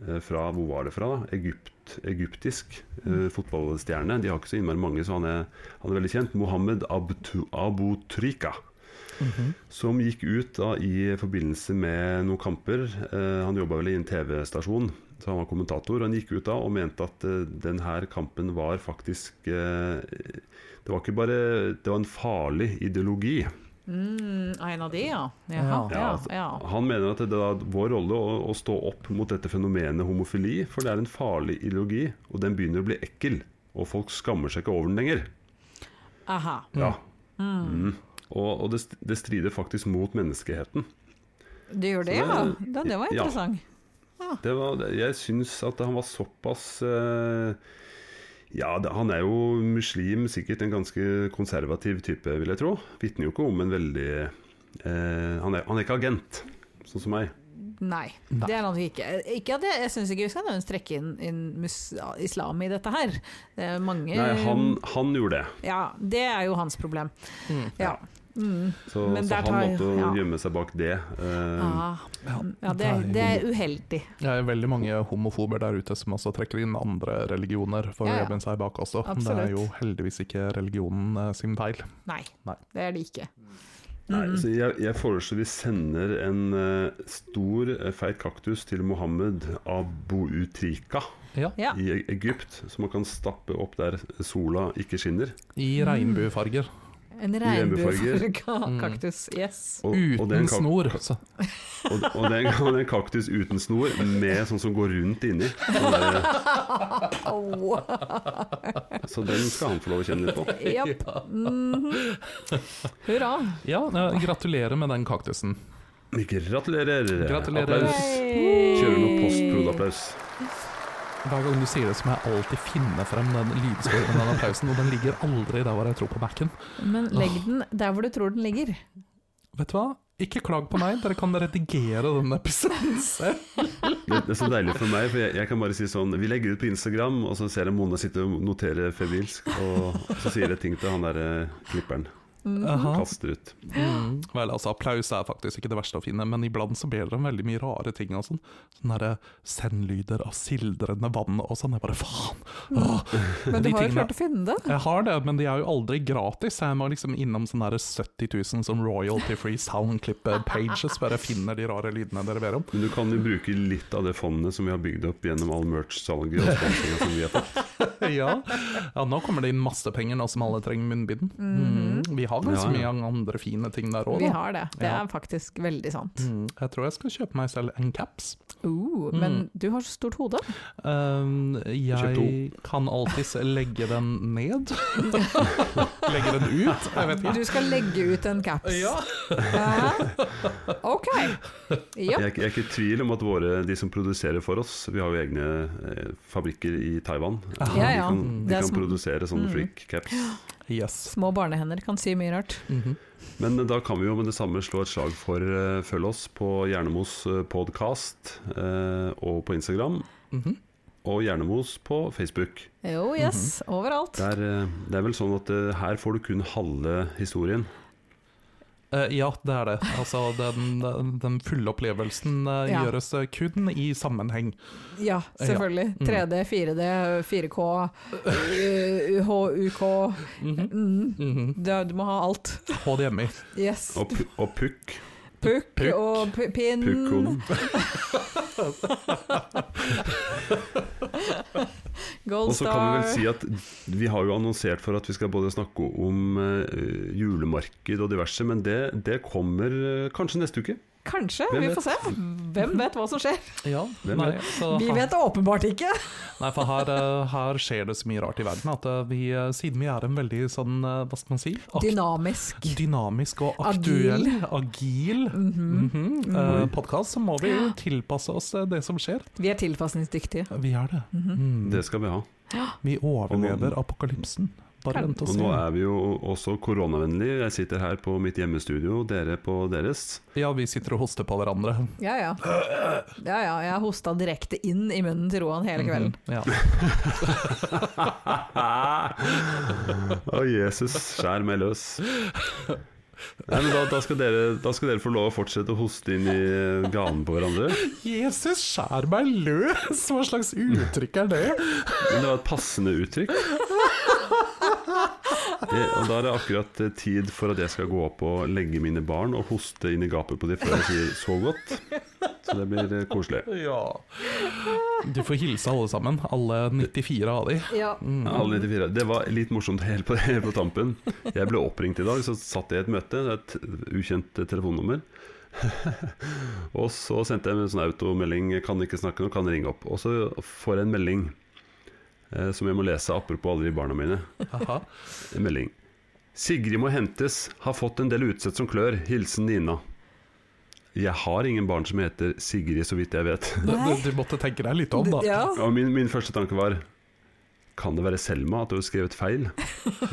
[SPEAKER 1] eh, fra Hvor var det fra? da? Egypt, egyptisk eh, fotballstjerne. De har ikke så innmari mange, så han er, han er veldig kjent. Mohammed Abtu- Abutrika
[SPEAKER 3] Mhm.
[SPEAKER 1] som gikk ut da i forbindelse med noen kamper. Eh, han jobba vel i en TV-stasjon, så han var kommentator. Han gikk ut da og mente at eh, den her kampen var faktisk eh, Det var ikke bare Det var en farlig ideologi.
[SPEAKER 2] Mm, en av de, ja. Jaha,
[SPEAKER 1] Ja,
[SPEAKER 2] ja,
[SPEAKER 1] altså,
[SPEAKER 2] ja.
[SPEAKER 1] Han mener at det er vår rolle å, å stå opp mot dette fenomenet homofili, for det er en farlig ideologi, og den begynner å bli ekkel. Og folk skammer seg ikke over den lenger.
[SPEAKER 2] Aha.
[SPEAKER 1] Ja. Mm. Og, og det, st- det strider faktisk mot menneskeheten.
[SPEAKER 2] Du gjør det,
[SPEAKER 1] Så
[SPEAKER 2] ja?
[SPEAKER 1] det-
[SPEAKER 2] Det, det var
[SPEAKER 1] ja.
[SPEAKER 2] interessant.
[SPEAKER 1] Det var, jeg syns at han var såpass eh, Ja, det- han er jo muslim, sikkert en ganske konservativ type, vil jeg tro. Vitner jo ikke om en veldig eh, han, er, han er ikke agent, sånn som meg.
[SPEAKER 2] Nei,
[SPEAKER 3] Nei.
[SPEAKER 2] det er han ikke. ikke at jeg jeg syns ikke vi skal nødvendigvis trekke inn, inn mus, ja, islam i dette her. Det er mange
[SPEAKER 1] Nei, han, han gjorde det.
[SPEAKER 2] Ja, det er jo hans problem.
[SPEAKER 3] Mm.
[SPEAKER 2] Ja. Mm.
[SPEAKER 1] Så,
[SPEAKER 2] Men
[SPEAKER 1] så
[SPEAKER 2] der
[SPEAKER 1] han
[SPEAKER 2] tar-
[SPEAKER 1] måtte
[SPEAKER 2] ja.
[SPEAKER 1] gjemme seg bak det. eh,
[SPEAKER 2] Ah.
[SPEAKER 3] Ja,
[SPEAKER 2] Ja, det, er- det er uheldig.
[SPEAKER 3] Det er veldig mange homofober der ute som også trekker inn andre religioner for
[SPEAKER 2] Ja,
[SPEAKER 3] å
[SPEAKER 2] ja.
[SPEAKER 3] gjemme seg bak også. Det
[SPEAKER 2] Absolutt.
[SPEAKER 3] er jo heldigvis ikke religionen eh, sin feil.
[SPEAKER 2] Nei,
[SPEAKER 3] Nei.
[SPEAKER 2] det er det ikke.
[SPEAKER 1] Nei,
[SPEAKER 2] Mm.
[SPEAKER 1] så jeg, jeg foreslår vi sender en eh, stor, eh, feit kaktus til Mohammed Aboutrika
[SPEAKER 3] Ja,
[SPEAKER 2] Ja.
[SPEAKER 1] i E- Egypt, som man kan stappe opp der sola ikke skinner.
[SPEAKER 3] I regnbuefarger.
[SPEAKER 2] En
[SPEAKER 1] regnbuefarger.
[SPEAKER 2] regnbuefarga
[SPEAKER 3] Mm.
[SPEAKER 2] kaktus. Yes.
[SPEAKER 1] Og, og
[SPEAKER 3] Uten
[SPEAKER 1] den kak-
[SPEAKER 3] snor. Så.
[SPEAKER 1] Og, og det er en- det er en kaktus uten snor, med sånn som går rundt inni. Så, det,
[SPEAKER 2] Au.
[SPEAKER 1] så den skal han få lov å kjenne litt på.
[SPEAKER 2] Japp. Mhm. Hurra.
[SPEAKER 3] Ja, eh, gratulerer med den kaktusen.
[SPEAKER 1] Gratulerer.
[SPEAKER 3] Gratulerer.
[SPEAKER 1] Applaus. Kjører noe postprod-applaus.
[SPEAKER 3] Hver gang du sier det, så må jeg alltid finne frem den lydsporen, den applausen, og den ligger aldri der hvor jeg tror på Mac-en.
[SPEAKER 2] Men legg den der hvor du tror den ligger.
[SPEAKER 3] Vet du hva? Ikke klag på meg, dere kan redigere den episoden selv.
[SPEAKER 1] Det, det er så deilig for meg, for jeg, jeg kan bare si sånn Vi legger ut på Instagram, og så ser jeg Mona sitte og notere febrilsk, og så sier jeg ting til han derre klipperen. Mhm.
[SPEAKER 3] Aha.
[SPEAKER 1] Kaster ut.
[SPEAKER 3] Mm. Vel, altså, applaus er faktisk ikke det verste å finne, men iblant så ber dere om veldig mye rare ting. og sånn. Sånne der, eh, Sendlyder av sildrende vann og sånn. Jeg bare faen! Åh.
[SPEAKER 2] Men du
[SPEAKER 3] De
[SPEAKER 2] har jo
[SPEAKER 3] tingene-
[SPEAKER 2] klart å finne det.
[SPEAKER 3] Jeg har det, men de er jo aldri gratis. Jeg må liksom innom sånne der 70 000 som royalty free soundclip-pages, bare finner de rare lydene dere ber om.
[SPEAKER 1] Men du kan jo bruke litt av det fondet som vi har bygd opp gjennom all merch-salget og sponsoringa som vi har fått.
[SPEAKER 3] ja. ja, nå kommer det inn masse penger nå som alle trenger munnbind. Mm. Vi har ganske
[SPEAKER 1] Ja, ja.
[SPEAKER 3] mye andre fine ting der Mm. òg.
[SPEAKER 2] Vi har det. Det
[SPEAKER 3] Ja.
[SPEAKER 2] er faktisk veldig sant.
[SPEAKER 3] Mm. Jeg tror jeg skal kjøpe meg selv en caps.
[SPEAKER 2] Uh, Men du har så stort hode.
[SPEAKER 3] Um, jeg
[SPEAKER 1] Kjøpt
[SPEAKER 3] kan alltids legge den ned. legge den ut? Jeg vet ikke.
[SPEAKER 2] Du skal legge ut en caps.
[SPEAKER 3] Ja.
[SPEAKER 2] Hæ? Ok. Ja.
[SPEAKER 1] Jeg, er ikke- jeg er ikke i tvil om at våre, de som produserer for oss Vi har jo egne eh, fabrikker i Taiwan.
[SPEAKER 3] Aha.
[SPEAKER 2] Ja, ja.
[SPEAKER 1] De kan,
[SPEAKER 2] Det
[SPEAKER 1] de
[SPEAKER 2] er
[SPEAKER 1] kan
[SPEAKER 2] som-
[SPEAKER 1] produsere sånne
[SPEAKER 2] Mm.
[SPEAKER 1] freak caps.
[SPEAKER 3] Yes.
[SPEAKER 2] Små barnehender kan si mye rart.
[SPEAKER 3] Mhm.
[SPEAKER 1] Men da kan vi jo med det samme slå et slag for eh, følg oss på Hjernemos eh, podcast eh, og på Instagram.
[SPEAKER 3] Mhm.
[SPEAKER 1] Og Hjernemos på Facebook.
[SPEAKER 2] Jo, yes. Mhm. Overalt.
[SPEAKER 1] Det er, eh, det er vel sånn at eh, her får du kun halve historien.
[SPEAKER 3] Eh, ja, det er det. Altså, den, den- den fulle opplevelsen eh,
[SPEAKER 2] Ja.
[SPEAKER 3] gjøres eh, kun i sammenheng.
[SPEAKER 2] Ja, selvfølgelig.
[SPEAKER 3] Ja. Mm.
[SPEAKER 2] 3D, 4D, 4K, HUK
[SPEAKER 3] Mhm.
[SPEAKER 2] mm.
[SPEAKER 3] Mhm.
[SPEAKER 2] du, du må ha alt.
[SPEAKER 3] HDMI.
[SPEAKER 2] Yes.
[SPEAKER 1] Og, pu- og pukk.
[SPEAKER 2] Pukk
[SPEAKER 3] Pukk.
[SPEAKER 2] og p- pinn.
[SPEAKER 1] Pukkoden. Og
[SPEAKER 2] Gold
[SPEAKER 1] så kan vi
[SPEAKER 2] Star.
[SPEAKER 1] vel si at vi har jo annonsert for at vi skal både snakke om eh, julemarked og diverse, men det, det kommer eh, kanskje neste uke.
[SPEAKER 2] Kanskje,
[SPEAKER 1] Hvem
[SPEAKER 2] vi
[SPEAKER 1] vet?
[SPEAKER 2] får se. Hvem vet hva som skjer?
[SPEAKER 3] Ja,
[SPEAKER 1] Hvem
[SPEAKER 3] nei,
[SPEAKER 1] vet?
[SPEAKER 3] så
[SPEAKER 2] Vi
[SPEAKER 3] her-
[SPEAKER 2] vet åpenbart ikke.
[SPEAKER 3] Nei, for her, eh, her skjer det så mye rart i verden at eh, vi, eh, siden vi er en veldig sånn, eh, hva skal man si, ak
[SPEAKER 2] Dynamisk.
[SPEAKER 3] dynamisk og
[SPEAKER 2] Agil.
[SPEAKER 3] aktuell, agil mhm, eh, podkast, så må vi jo tilpasse oss eh, det som skjer.
[SPEAKER 2] Vi er tilpasningsdyktige.
[SPEAKER 3] Vi er det.
[SPEAKER 2] Mhm.
[SPEAKER 3] Mm.
[SPEAKER 1] Det skal vi ha.
[SPEAKER 3] Vi overlever apokalypsen. Bare
[SPEAKER 2] Kan-
[SPEAKER 3] vent og
[SPEAKER 1] Og nå
[SPEAKER 3] se.
[SPEAKER 1] er vi jo også koronavennlig. Jeg sitter her på mitt hjemmestudio, dere på deres.
[SPEAKER 3] Ja, vi sitter og hoster på hverandre.
[SPEAKER 2] Ja ja. ja ja. Jeg hosta direkte inn i munnen til Roan hele kvelden.
[SPEAKER 3] Mhm, Ja.
[SPEAKER 1] Å, Jesus, skjær meg løs. Nei, men da, da, skal dere, da skal dere få lov å fortsette å hoste inn i eh, ganen på hverandre.
[SPEAKER 3] Jesus, skjær meg løs! Hva slags uttrykk er det?
[SPEAKER 1] Men det var et passende uttrykk. Det, og Da er det akkurat eh, tid for at jeg skal gå opp og legge mine barn og hoste inn i gapet på dem før jeg sier 'så godt'. Så det blir eh, koselig.
[SPEAKER 3] Ja. Du får hilse alle sammen. Alle 94 av de.
[SPEAKER 2] Ja.
[SPEAKER 1] Ja, Alle 94. Det var litt morsomt helt på, helt på tampen. Jeg ble oppringt i dag, så satt jeg i et møte, et ukjent eh, telefonnummer. og så sendte jeg en sånn automelding 'kan ikke snakke nå, kan ringe opp'. Og så får jeg en melding eh, som jeg må lese apropos alle de barna mine.
[SPEAKER 3] Aha.
[SPEAKER 1] En melding. 'Sigrid må hentes. Har fått en del utsett som klør. Hilsen Nina'. Jeg har ingen barn som heter Sigrid, så vidt jeg vet.
[SPEAKER 3] Du,
[SPEAKER 2] Nei.
[SPEAKER 3] du måtte tenke deg litt om, da.
[SPEAKER 2] ja.
[SPEAKER 1] Og min, min første tanke var Kan det være Selma at du har skrevet feil?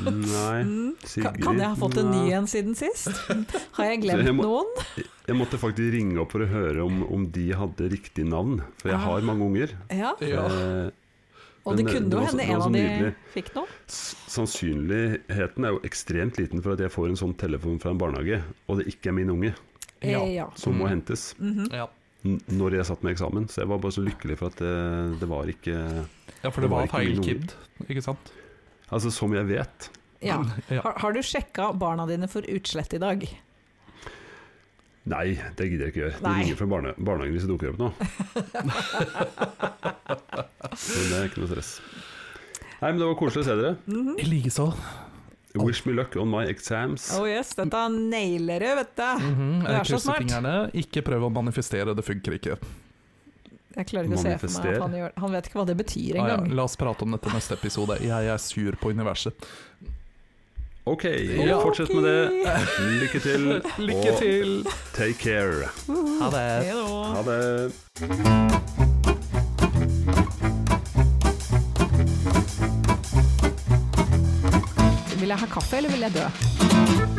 [SPEAKER 1] Nei,
[SPEAKER 2] Kan,
[SPEAKER 1] Sigrid.
[SPEAKER 2] kan jeg ha fått en ny
[SPEAKER 1] Nei.
[SPEAKER 2] en siden sist? Har jeg
[SPEAKER 1] Så
[SPEAKER 2] glemt
[SPEAKER 1] jeg må-
[SPEAKER 2] noen?
[SPEAKER 1] Jeg måtte faktisk ringe opp for å høre om, om de hadde riktig navn, for jeg har mange unger.
[SPEAKER 2] Ah. Ja.
[SPEAKER 3] Ja.
[SPEAKER 1] Eh,
[SPEAKER 2] Og det
[SPEAKER 1] Men det-
[SPEAKER 2] kunne
[SPEAKER 1] det var
[SPEAKER 2] jo
[SPEAKER 1] så- det
[SPEAKER 2] hende
[SPEAKER 1] var
[SPEAKER 2] en
[SPEAKER 1] så
[SPEAKER 2] av de
[SPEAKER 1] nydelig.
[SPEAKER 2] fikk noe.
[SPEAKER 1] s- sannsynligheten er jo ekstremt liten for at jeg får en sånn telefon fra en barnehage, og det ikke er min unge
[SPEAKER 2] Eh,
[SPEAKER 3] Ja.
[SPEAKER 2] ja.
[SPEAKER 1] som må hentes.
[SPEAKER 3] Ja.
[SPEAKER 1] N når jeg satt med eksamen, så jeg var bare så lykkelig for at det, det var ikke
[SPEAKER 3] ja, for det var
[SPEAKER 1] Det var ikke
[SPEAKER 3] feil
[SPEAKER 1] noe-
[SPEAKER 3] kid, ikke sant?
[SPEAKER 1] Altså, som jeg vet
[SPEAKER 2] Ja.
[SPEAKER 3] Ja.
[SPEAKER 2] Har, har du sjekka barna dine for utslett i dag?
[SPEAKER 1] Nei, det gidder jeg ikke gjøre. De
[SPEAKER 2] Nei.
[SPEAKER 1] ringer fra barne barnehagen hvis det dukker opp nå. Men det er ikke noe stress. Nei, men Det var koselig å se dere.
[SPEAKER 3] I likeså.
[SPEAKER 1] Wish me luck on my exams.
[SPEAKER 2] Oh yes, dette nailer du, vet du.
[SPEAKER 3] Mhm,
[SPEAKER 2] Det er
[SPEAKER 3] Jeg
[SPEAKER 2] så
[SPEAKER 3] krysser
[SPEAKER 2] smart.
[SPEAKER 3] fingrene. Ikke prøv å manifestere, det funker ikke.
[SPEAKER 2] Jeg klarer ikke å se for meg
[SPEAKER 1] Manifester.
[SPEAKER 2] at han gjør Han vet ikke hva det betyr
[SPEAKER 3] Ah, ja.
[SPEAKER 2] engang.
[SPEAKER 3] La oss prate om dette neste episode. Jeg er sur på universet.
[SPEAKER 1] Ok,
[SPEAKER 3] Ja.
[SPEAKER 1] fortsett med det. Lykke til.
[SPEAKER 3] Lykke til!
[SPEAKER 1] Og take care.
[SPEAKER 3] Ha det.
[SPEAKER 2] Hei da.
[SPEAKER 1] Ha det.
[SPEAKER 2] Vil jeg ha kaffe, eller vil jeg dø?